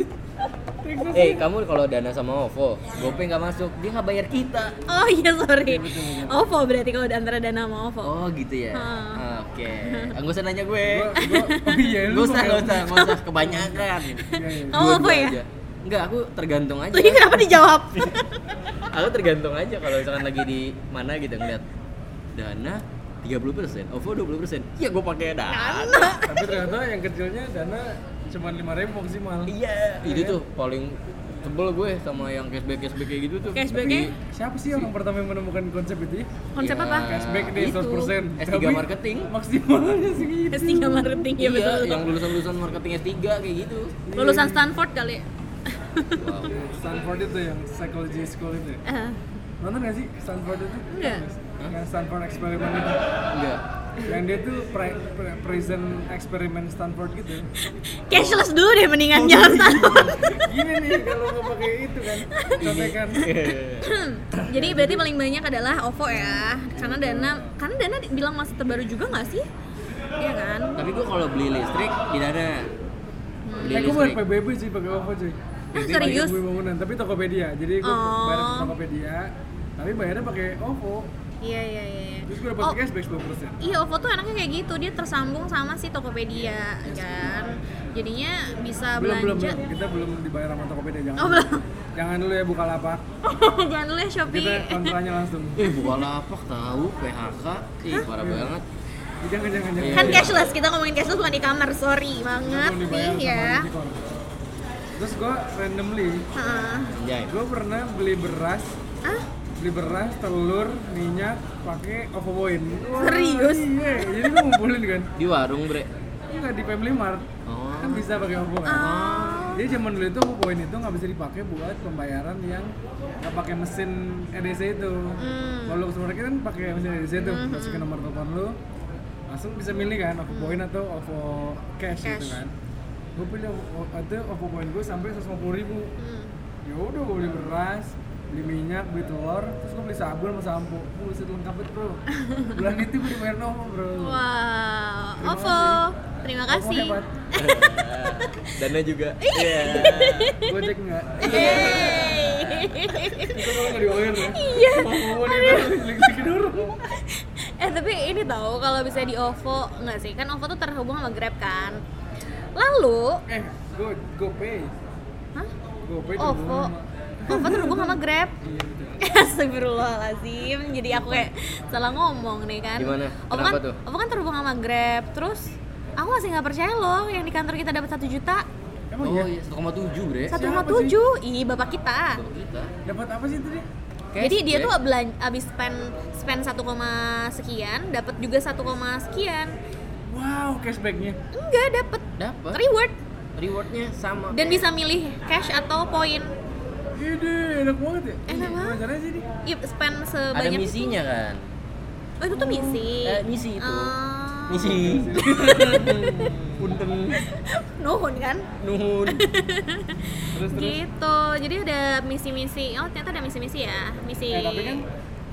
Texas Ya,
Eh, kamu kalau dana sama OVO, GoPay nggak masuk, dia nggak bayar kita.
Oh iya sorry,
betul, betul. iya,
OVO berarti kalau antara Dana sama OVO.
Oh, gitu ya.
Hmm.
Oke. Ah, nggak usah nanya gue.
Gua- gua- oh iya
Gak
lu
usah,
pakai-
gak usah, gak usah kebanyakan.
Iya, iya.
Kamu
Dua-dua
OVO ya? Iya.
aja. Enggak, aku tergantung aja.
Tuh ini kenapa dijawab?
Iya,
Aku tergantung aja kalau misalkan lagi di mana gitu ngeliat dana 30%, OVO 20%. Iya, gue pakai dana.
tapi ternyata yang kecilnya dana cuma lima ribu maksimal
Iya. Itu tuh paling sebel gue sama yang cashback-cashback kayak gitu tuh.
Cashbacknya
tapi siapa sih orang pertama yang menemukan konsep itu ya?
konsep
Ya,
apa? Gitu.
cashback di
itu.
100%
S3
Tapi
marketing.
maksimalnya segitu
Pasti nggak marketing ya
iya,
betul.
yang lulusan-lulusan marketing S3 kayak gitu.
Lulusan Stanford kali. ya?
Wow.
Stanford itu yang psychology school itu ya?
Eh,
Nonton gak sih Stanford itu?
Enggak.
Yang Stanford eksperimen itu
Enggak.
Yang dia tuh pri- pri- prison eksperimen Stanford gitu
Cashless dulu deh
Oh,
mendingan jangan
iya.
Stanford.
Gini nih kalau nggak pakai itu kan Contekan
Iya,
Eh,
Jadi berarti paling banyak adalah OVO ya. Karena Dana, karena Dana bilang masih terbaru juga nggak sih? Iya kan?
Tapi gue kalau beli listrik di dana.
Iya,
Beli
Eh gue bukan PBB sih pakai OVO cuy
Ah,
Jadi
serius?
pakai bumi bangunan tapi Tokopedia Jadi gue
Oh.
bayar ke Tokopedia Tapi bayarnya pakai OVO
Iya iya iya. iya.
Terus gue dapat
Oh,
cashback 10%
Iya, OVO tuh enaknya kayak gitu, dia tersambung sama si Tokopedia kan. Jadinya bisa
belum, belum,
Ah, belanja.
belum, kita belum dibayar sama Tokopedia, jangan
Oh, belum.
Jangan dulu ya buka lapak
Jangan dulu ya Shopee.
Kita kontranya langsung
Eh, Bukalapak tahu PHK. Ih, parah banget.
Jangan, jangan, jangan
Kan
Iya.
cashless, kita ngomongin cashless bukan di kamar, sorry banget
Belum
nih
dibayar sama
ya.
Unicorn. Terus gue randomly
Heeh.
Anjay.
gue pernah beli beras
Ah,
beli beras telur minyak pakai ovoboin Wah,
Serius?
iya jadi gue ngumpulin kan
Di warung, Bre.
nggak di Family Mart
Oh.
kan bisa pakai ovoboin
Ah, Oh.
jadi zaman dulu itu ovoboin itu nggak bisa dipakai buat pembayaran yang nggak pakai mesin EDC itu
Hmm.
kalau lu kita kan pakai mesin EDC itu masukin nomor telepon lu langsung bisa milih kan ovoboin atau ovo cash, gitu
Hmm. Cash.
kan gue pilih ovo, itu ovoboin gue sampai 150 ribu
hmm.
ya udah gue beli beras beli minyak beli telur terus gue beli sabun sama sampo gue bisa lengkap banget bro bulan itu gue dibayar nol bro
Wow,
Terima
OVO. Terima kasih.
hebat
Dana juga. Iya.
gue cek nggak
Iya. Hey.
itu kalau nggak dibayar ya
Iya.
mau dia lagi dorong
eh tapi ini tahu kalau bisa di OVO nggak sih kan OVO tuh terhubung sama Grab kan lalu
eh go go pay
hah?
go pay
OVO OVO terhubung sama Grab Astagfirullahalazim jadi aku kayak salah ngomong nih kan
Gimana?
OVO
Kenapa
kan,
tuh?
OVO kan terhubung sama Grab terus aku masih nggak percaya loh yang di kantor kita dapat satu juta
emang
Oh,
iya
iya 1,7, Bre.
satu
Siapa
tujuh ih bapak kita
Kalau kita.
dapat apa sih tadi
jadi dia
Cashback.
tuh belan- abis spend spend 1, sekian dapat juga 1, sekian
wow cashbacknya
enggak dapet
Dapat.
reward
Rewardnya sama.
dan bisa milih cash atau poin
Ide, enak banget ya.
Enak
Gimana
banget.
Caranya sih ini?
Iya, spend
ada
sebanyak
misinya kan.
itu. oh itu tuh misi
Eh, misi itu.
Ah.
Misi. Punten
nuhun kan
nuhun.
Terus terus.
gitu jadi ada misi-misi oh ternyata ada misi-misi ya misi
Eh, tapi kan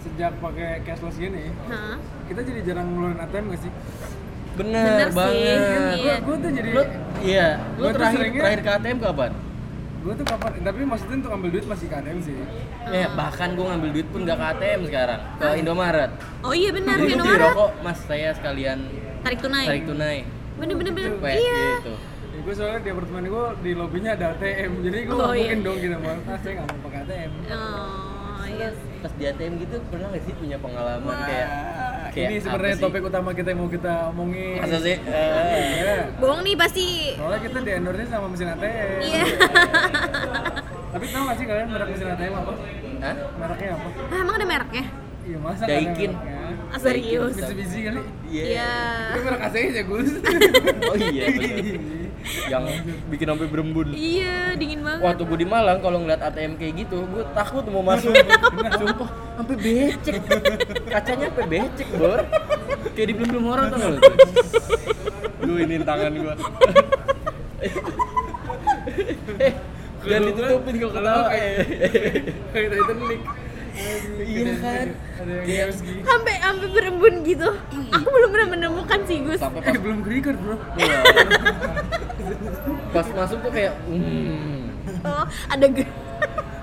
sejak pakai cashless gini,
Hah?
kita jadi jarang ngeluarin ATM gak sih?
Bener,
Bener sih,
banget.
Iya.
Gue tuh jadi,
Lu, iya, lu
Gua tuh
terakhir
seringnya-
terakhir ke ATM kapan?
gue tuh kapan? eh, Tapi maksudnya untuk ambil duit masih ke ATM sih.
Eh, bahkan gue ngambil duit pun gak ke ATM sekarang, ke Indomaret.
oh iya benar
Jadi gue beli
Indomaret
rokok, mas saya sekalian
tarik tunai
tarik tunai.
bener-bener bener.
Cepet,
iya
gitu.
Ya, gue soalnya di apartemen gue di lobbynya ada ATM, jadi gue
Oh,
nggak
iya.
mungkin dong gitu mau, ah saya nggak mau pakai ATM.
oh iya
Pas di ATM gitu pernah gak sih punya pengalaman kayak
Wah,
kayak
Nah, ini
apa
sebenarnya
sih?
topik utama kita yang mau kita omongin.
Masa sih?
Iya.
bohong nih pasti
Oh.
Soalnya kita di endorse sama mesin ATM.
iya
Tapi tahu nggak sih kalian merek mesin ATM apa?
Hah?
Mereknya apa?
ah, emang ada mereknya
Iya masa nggak ada
Daikin.
mereknya?
ah, serius
Mitsubishi kali.
Iya.
Itu merek AC aja Gus.
Oh iya. bener. Yang bikin sampai berembun.
Iya, dingin banget.
Waktu gue di Malang kalau ngeliat ATM kayak gitu, gue takut mau masuk. Sumpah, sampai becek. Kacanya sampai becek, Bor. Kayak dibelum-belum orang tuh lu. Gue ini tangan gue. eh, jangan ditutupin kalau ketawa.
Kayak kita Nick.
Iya kan?
Ada yang harus gini.
Sampai sampai berembun gitu. Aku belum pernah menemukan sih, Gus.
Sampai
Eh
pas
belum kerikut bro.
pas masuk tuh kayak hmm.
Oh, ada ge-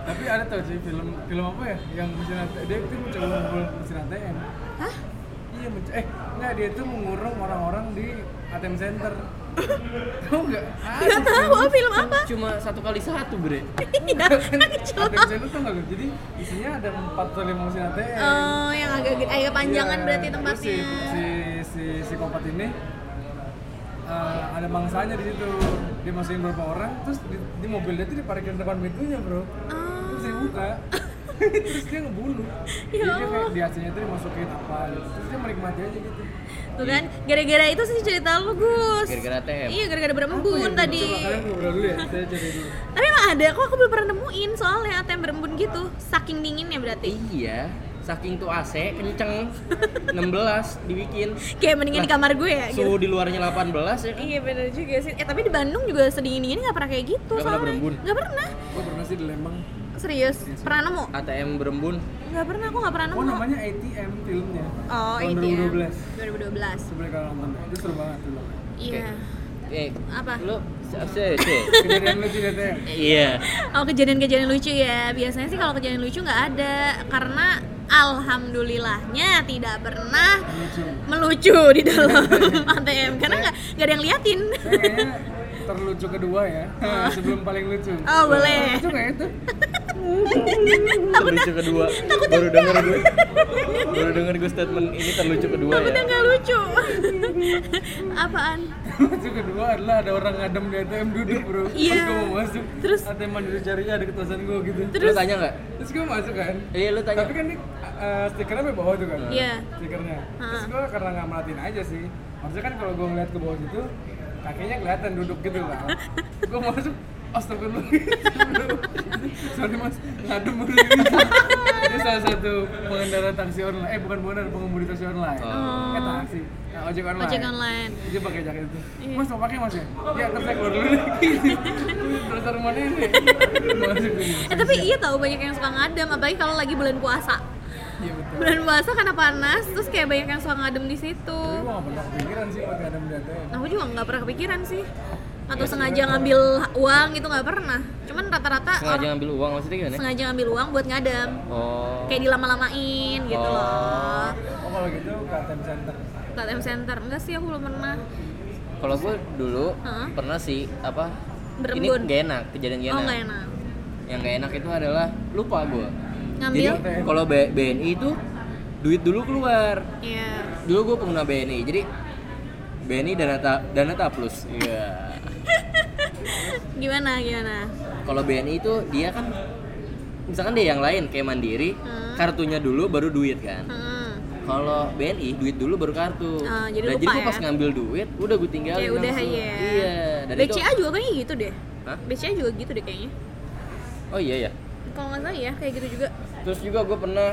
Tapi ada tau sih film film apa ya yang mesin ATM dia itu mencoba mengumpul mesin ATM.
Hah?
Iya mencoba. Eh nggak dia itu mengurung orang-orang di ATM center. Tahu nggak?
Gak tahu oh, film apa.
cuma satu kali satu bre
Iya, kan kecil
ATM
banget.
center tuh nggak jadi isinya ada empat atau lima mesin ATM.
Oh, yang agak gede- agak panjangan
Iya,
berarti
terus
tempatnya.
Si si si, si Kopat ini eh, ada mangsanya di situ. Dia masukin beberapa orang, terus di, di mobil dia tuh diparkirin depan pintunya, Bro. Terus
Oh,
dia buka. terus dia ngebunuh.
Ya
Jadi dia kayak di AC-nya tuh dimasukin apa gitu. Terus dia menikmati aja gitu.
Oh, tuh kan, gara-gara itu sih cerita lu, Gus.
Gara-gara ATM.
Iya, gara-gara berembun tadi.
Oh, ya? Coba kalian ngobrol dulu ya, saya cari dulu.
Tapi emang ada kok aku belum pernah nemuin soalnya ATM berembun gitu. Saking dinginnya berarti.
iya saking tuh AC kenceng 16 dibikin
Kayak mendingan di kamar gue ya gitu.
suhu di luarnya 18 ya kan
Iya bener juga sih. Eh tapi di Bandung juga sedingin-dinginnya nggak pernah kayak
Nggak
gitu
pernah
soalnya.
berembun.
Nggak pernah.
Gue pernah sih di Lembang. Oh,
Serius? Pernah nemu?
ATM berembun
Nggak pernah, aku nggak pernah nemu.
Oh namanya ATM filmnya.
Oh,
Tahun
itu
2012.
2012.
Coba kalian nonton, itu seru banget dulu.
Iya.
eh
Apa?
lu se se
Kejadian lucu di ATM.
iya
Oh, kejadian-kejadian lucu ya. Biasanya sih kalau kejadian lucu nggak ada karena alhamdulillahnya tidak pernah
Lucu.
melucu di dalam ATM karena nggak nggak ada yang liatin.
Saya kayaknya terlucu kedua ya sebelum paling lucu
Oh, boleh.
lucu nggak ya? itu
terlucu kedua baru denger gue baru denger gue statement ini terlucu kedua
Takutnya
ya
nggak lucu. Apaan?
lucu kedua adalah ada orang ngadem di ATM duduk bro
Iya.
terus gue mau masuk
Terus?
ATM mandiri jarinya ada ketosan gue gitu
lu tanya nggak
terus gue masuk kan
iya lu tanya
tapi kan ini eh, stikernya sampai bawah tuh kan
Iya.
stikernya terus
Ha.
gue karena nggak merhatiin aja sih maksudnya kan kalau gue ngeliat ke bawah situ kakinya kelihatan duduk gitu lah gue masuk Astagfirullah Sorry mas, ngadem mulu Itu salah satu pengendara taksi online Eh bukan pengendara, pengemudi taksi online
Oh.
Eh taksi, nah, ojek online
Ojek online. Iya.
Dia pakai jaket itu Mas mau pakai mas ya? Ya terus saya keluar dulu Gitu. Terus taruh mana ini? Masuk dulu
Eh tapi iya tahu banyak yang suka ngadem apalagi kalau lagi bulan puasa.
Iya betul
Bulan puasa karena panas terus kayak banyak yang suka ngadem di situ.
Tapi gue gak pernah kepikiran sih pakai ngadem di ATM
Aku juga nggak pernah kepikiran sih. Atau sengaja ngambil uang gitu nggak pernah. Cuman rata-rata
sengaja
orang
ngambil uang maksudnya gimana
sengaja ngambil uang buat ngadem.
oh
Kayak dilama-lamain gitu
Oh.
loh.
Oh kalau gitu ke ATM center.
Ke ATM center. Enggak sih aku belum pernah.
kalau gue dulu
Hah?
pernah sih apa
Berembun.
ini gak enak kejadian gak
Oh
enak
nggak enak.
yang gak enak itu adalah lupa gue
Ngambil?
jadi kalau B- BNI itu duit dulu keluar
Iya.
dulu gue pengguna BNI jadi BNI dana ta dana taplus iya
Gimana gimana?
kalau BNI itu dia kan misalkan dia yang lain kayak mandiri
Hmm.
kartunya dulu baru duit kan
Hmm.
kalau BNI duit dulu baru kartu
Ah, jadi
nah
lupa
jadi gue
ya?
pas ngambil duit udah gue tinggalin
Ya udah,
langsung.
iya.
iya dan itu
BCA juga kayaknya gitu deh
Hah?
BCA juga gitu deh kayaknya
oh iya ya
kalau nggak salah ya kayak gitu juga
terus juga gue pernah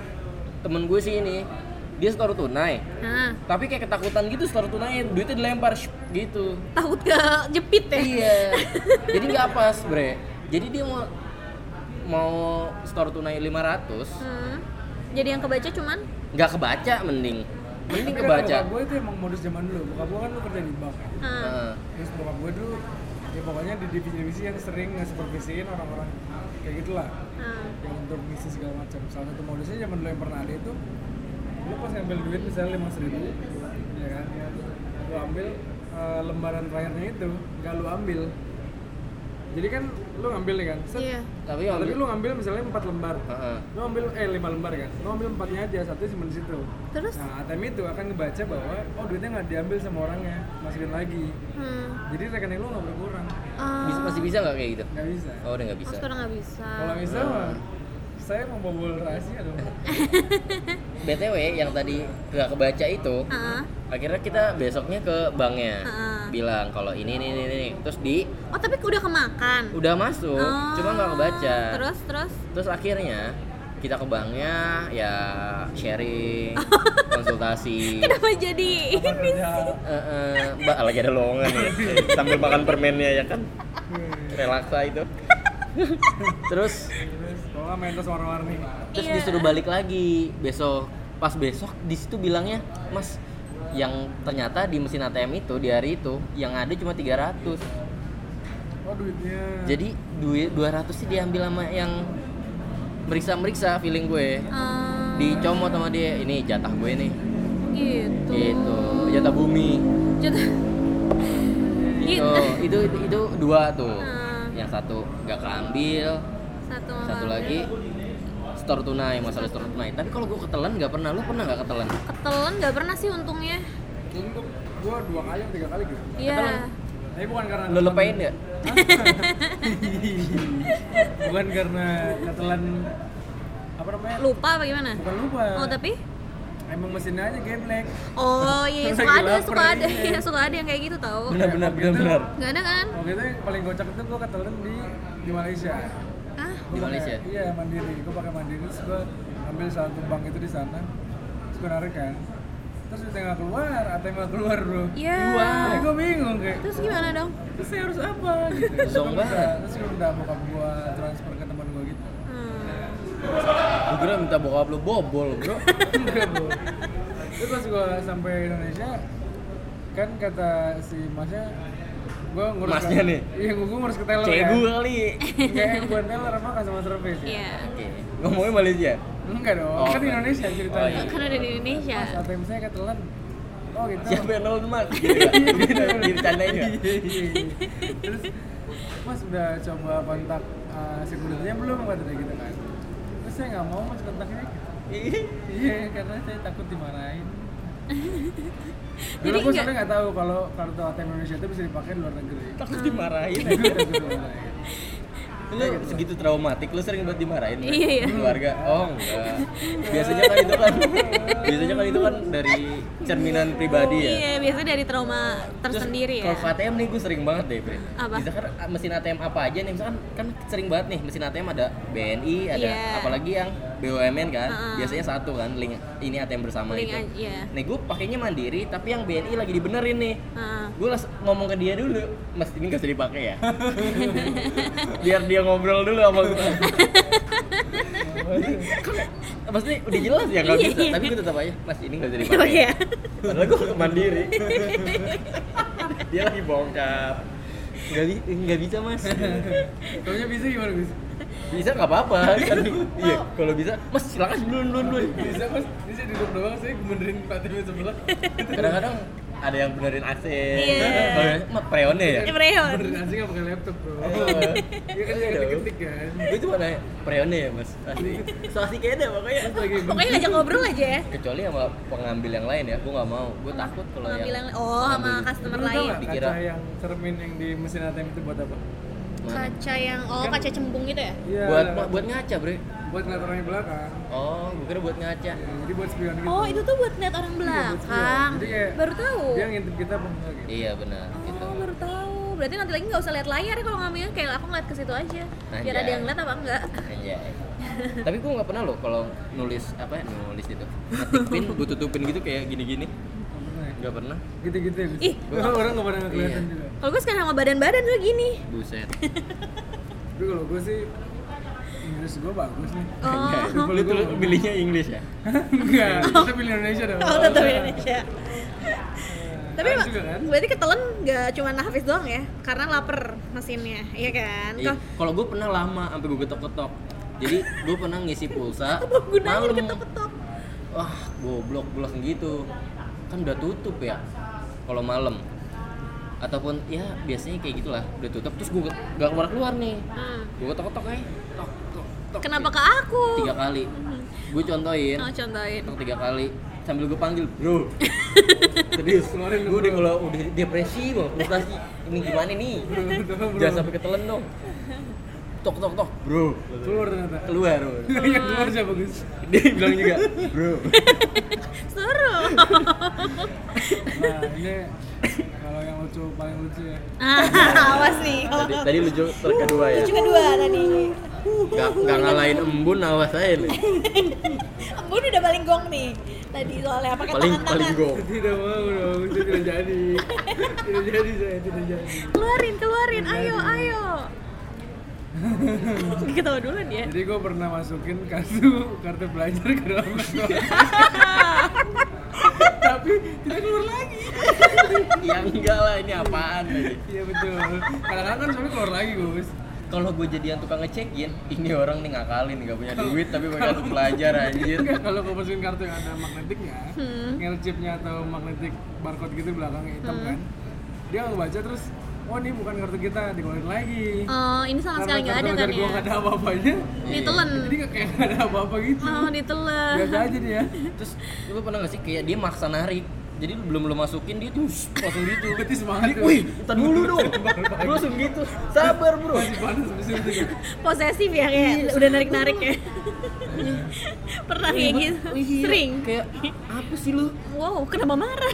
temen gue sih ini dia setor tunai
nah
tapi kayak ketakutan gitu setor tunai duitnya dilempar shh, gitu
takut ke jepit ya
iya jadi nggak pas bre jadi dia mau mau store tunai 500
Hmm. jadi yang kebaca cuman
nggak kebaca mending mending
Tapi kan
kebaca
bokap gue itu emang modus zaman dulu bokap gue kan lu kerja di bank
hmm.
Nah,
terus bokap gue dulu ya pokoknya di divisi-divisi yang sering ngesupervisiin orang-orang kayak gitulah
Hmm.
yang untuk misi segala macam salah satu modusnya zaman dulu yang pernah ada itu lu pas ngambil duit misalnya lima ribu ya kan lu ambil eh, lembaran terakhirnya itu nggak lu ambil jadi kan lu ngambil nih kan set.
iya
tapi
Nah, tapi
ambil
lu ngambil misalnya empat lembar
Heeh.
lu ambil eh lima lembar kan lu ambil empatnya aja satu simpen di situ
terus
nah ATM itu akan ngebaca bahwa oh duitnya nggak diambil sama orangnya masukin lagi
hmm.
jadi rekening lu nggak berkurang
Ah,
bisa, masih bisa nggak kayak gitu
nggak bisa
oh udah nggak
oh,
bisa
sekarang nggak bisa
kalau bisa mah saya membobol rahasia dong
btw yang tadi nggak kebaca itu
Ah.
akhirnya kita besoknya ke banknya
Heeh.
bilang kalau ini ini ini, ini. terus di
oh tapi udah kemakan
udah masuk
Oh.
cuma nggak kebaca
terus terus
terus akhirnya kita ke banknya ya sharing konsultasi
kenapa jadi ini
Padahal-
Eh, eh, mbak lagi ada lowongan nih sambil makan permennya ya kan relaksa itu terus
Terus kalau nggak main terus warna-warni
terus
Iya.
disuruh balik lagi besok pas besok di situ bilangnya mas yang ternyata di mesin ATM itu di hari itu yang ada cuma 300
Hmm.
oh duitnya
jadi duit 200 sih diambil sama yang meriksa-meriksa feeling gue
Ah,
dicomot sama dia ini jatah gue nih
gitu
gitu jatah bumi
Jatuh.
itu itu
gitu
itu, itu dua tuh
Hmm.
yang satu nggak keambil
satu
satu
orang.
lagi store tunai masalah store tunai tapi kalau gue ketelan nggak pernah lu pernah nggak ketelan
ketelan nggak pernah sih untungnya
untuk gua dua kali atau tiga kali gitu
iya
tapi bukan karena
lu lepain nggak
bukan karena ketelan apa namanya
lupa apa gimana
bukan lupa
oh tapi
emang mesinnya aja geblek
oh iya
Terus
suka
lagi
ada
lapar
suka ada
ini.
ya suka ada yang kayak gitu tau
Iya, benar benar benar benar
nggak ada kan
waktu itu yang paling kocak itu gua ketelan di di Malaysia
ah
Di
Gua pakai-
Malaysia?
iya mandiri gua pakai mandiri terus gua ambil satu bank itu di sana terus gua narik kan terus duitnya nggak keluar ATM nggak keluar bro
iya
Jadi gua bingung kayak
terus gimana dong
terus saya harus apa gitu
Zonk
Terus gua minta-
banget.
terus gue minta bokap gua transfer ke teman gua gitu
gue
Hmm.
kira minta bokap lu bobol bro
Enggak, Bu. terus pas gua sampai Indonesia kan kata si masnya gua ngurus
Masnya nih?
iya gua gua ngurus ke kan. teller
cegu kali
enggak yang buat teller apa customer service ya?
iya
Oke. ngomongin Malaysia
enggak dong
Oh,
kan di
kan.
Indonesia ceritanya
Oh, iya.
karena dari Indonesia
Mas, ATM saya ketelan oh gitu
siapa yang nolong mas gitu nggak? gitu gitu candain nggak?
terus mas udah coba kontak uh, security-nya belum kata dia gitu kan terus saya nggak mau mas kontaknya
Ih,
iya karena saya takut dimarahin
Jadi
Dulu gue
nggak-
sampai nggak tahu kalau kartu ATM Indonesia itu bisa dipakai di luar negeri.
takut dimarahin
Tapi udah gue dimarahin.
lu segitu traumatik lu sering buat dimarahin Bro?
Iya, iya.
keluarga oh enggak biasanya kan itu kan biasanya kan itu kan dari cerminan pribadi ya
iya biasanya dari trauma tersendiri ya
Terus, Kalau ke ATM nih gue sering banget deh, Bre.
Apa?
Misalkan ah, mesin ATM apa aja nih, misalkan kan sering banget nih mesin ATM ada BNI, ada
Iya.
apalagi yang BUMN kan,
Heeh.
biasanya satu kan link ini ATM bersama
Link
itu.
aja, iya.
Nih gue pakainya mandiri, tapi yang BNI lagi dibenerin nih.
Ah.
Gue langsung ngomong ke dia dulu, Mas ini gak usah dipakai ya. Biar dia ngobrol dulu sama gue. Maksudnya udah jelas ya kalau
Iya,
bisa,
iya.
tapi gue tetap aja, Mas ini gak usah
Oh,
dipakai.
iya.
Padahal gue ke mandiri. Dia lagi bongkar. Nggak, bi- nggak bisa mas
Taunya bisa gimana bisa?
Bisa nggak apa-apa kan Iya kalau bisa Mas silakan duluan duluan duluan
Bisa mas, ini saya duduk doang, saya benerin ATM yang sebelah.
Kadang-kadang ada yang benerin AC
Iya.
Kalau yang- Mak preonnya ya Oh.
Ini Preon.
Benerin aja nggak pakai laptop bro. Iya kan
Iya
yang
dong.
ketik-ketik kan.
Gue cuma nanya preonnya ya mas Asli So asik aja pokoknya
Pokoknya ngajak ngobrol aja ya.
Kecuali sama pengambil yang lain ya Gue nggak mau Gue takut kalau yang
Pengambilan oh sama customer
Lu tau
lain.
nggak
Dikira.
kaca yang cermin yang di mesin ATM itu buat apa?
Mana?
Kaca yang oh kaca cembung gitu ya?
Iya.
Buat buat ngaca bre
buat ngeliat orang yang belakang.
Oh gue kira buat ngaca
Ya, Jadi buat spion gitu.
Oh, itu tuh buat lihat orang
Iya, buat spion.
belakang.
Jadi kayak
Baru tahu.
dia ngintip kita apa enggak gitu.
Iya benar gitu
Oh, baru tahu. berarti nanti lagi nggak usah lihat layar ya kalau ngambilnya kayak aku ngeliat ke situ aja biar ada
Anjay.
yang ngeliat apa enggak
Anjay. Tapi gue nggak pernah loh kalau nulis apa ya nulis gitu. Ngetik pin, gue tutupin gitu kayak gini-gini. Nggak pernah.
gitu-gitu ya, Bis.
Ih.
Gua- orang nggak gitu. pada kelihatan
Iya.
juga
kalau gue sekarang sama badan-badan gue gini
Buset.
tapi kalau gue sih Inggris gue bagus nih
oh
Lu tuh pilihnya Inggris ya?
enggak kita pilih Indonesia dong
oh tetap Indonesia tapi
Harus
emang-
juga kan?
berarti ketelan nggak cuma Hafiz doang ya karena lapar mesinnya iya kan
Iya.
Kalau-
Kalau gue pernah lama sampai gue ketok-ketok. Jadi gue pernah ngisi pulsa
apa gunanya
malam.
diketok-ketok
Wah, goblok blok gitu. Kan udah tutup ya. Kalau malam ataupun ya biasanya kayak gitulah udah tutup terus gue nggak keluar keluar nih
Hmm.
gue ketok-ketok aja tok tok tok
kenapa ke aku
tiga kali gue contohin
oh, contohin
Tok tiga kali sambil gue panggil bro serius
Keluarin
kemarin
lu,
gue udah
bro.
kalau udah depresi banget frustasi ini gimana nih jangan sampai ketelan dong tok tok tok bro
keluar ternyata
keluar bro.
yang keluar siapa Gus
Oh. dia bilang juga bro
suruh
nah ini kalau yang lucu paling lucu ya
ah, awas nih
tadi, tadi lucu kedua ya
lucu kedua tadi
nggak nggak ngalahin embun awas aja nih
embun udah paling gong nih tadi soalnya pakai
paling
tangan
paling
tangan
go
tidak mau dong saya tidak jadi tidak jadi saya tidak jadi
keluarin keluarin
Iya.
ayo ayo ketawa dulu ya. dia
jadi gue pernah masukin kartu kartu pelajar ke dalam kartu tapi tidak keluar lagi
ya enggak lah ini apaan nih
iya betul kadang-kadang kan soalnya keluar lagi Gus
kalau gue jadian tukang ngecekin ini orang nih ngakalin nggak punya duit tapi pakai kartu pelajar anjir
Enggak, kalau gue masukin kartu yang ada magnetiknya
Hmm.
ngel chipnya atau magnetik barcode gitu belakangnya hitam kan dia nggak baca terus oh ini bukan kartu kita dikeluarin lagi
oh ini sama sekali nggak ada kan
gue
ya
nggak ada apa-apanya
ditelen
jadi nggak kayak nggak ada apa-apa gitu
oh ditelen
Iya
biasa
kan?
aja dia
Terus lu pernah gak sih kayak dia maksa narik? Jadi lu belum lu masukin dia tuh shh, langsung gitu.
berarti semangat ya. tuh.
Wih, ntar dulu dong. Lu langsung gitu. Sabar, Bro.
masih gitu. panas mesin juga
posesif ya
Iya.
kayak udah narik narik ya pernah kayak gitu
Iya,
sering
Kayak apa sih lu?
wow kenapa marah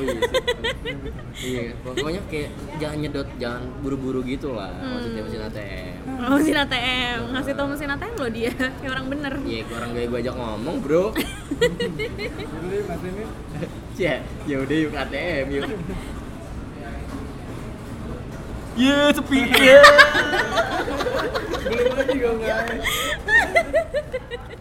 Iya, pokoknya kayak jangan nyedot, jangan buru-buru gitu lah.
Hmm.
Maksudnya mesin ATM.
Oh, mesin ATM ngasih tau mesin ATM loh dia kayak orang bener
Iya, gua orang gaya gua ajak ngomong, Bro.
jadi mas ini
Ya, ya udah yuk ATM yuk.
Yeah, it's a P. Yeah.
belum lagi gue nggak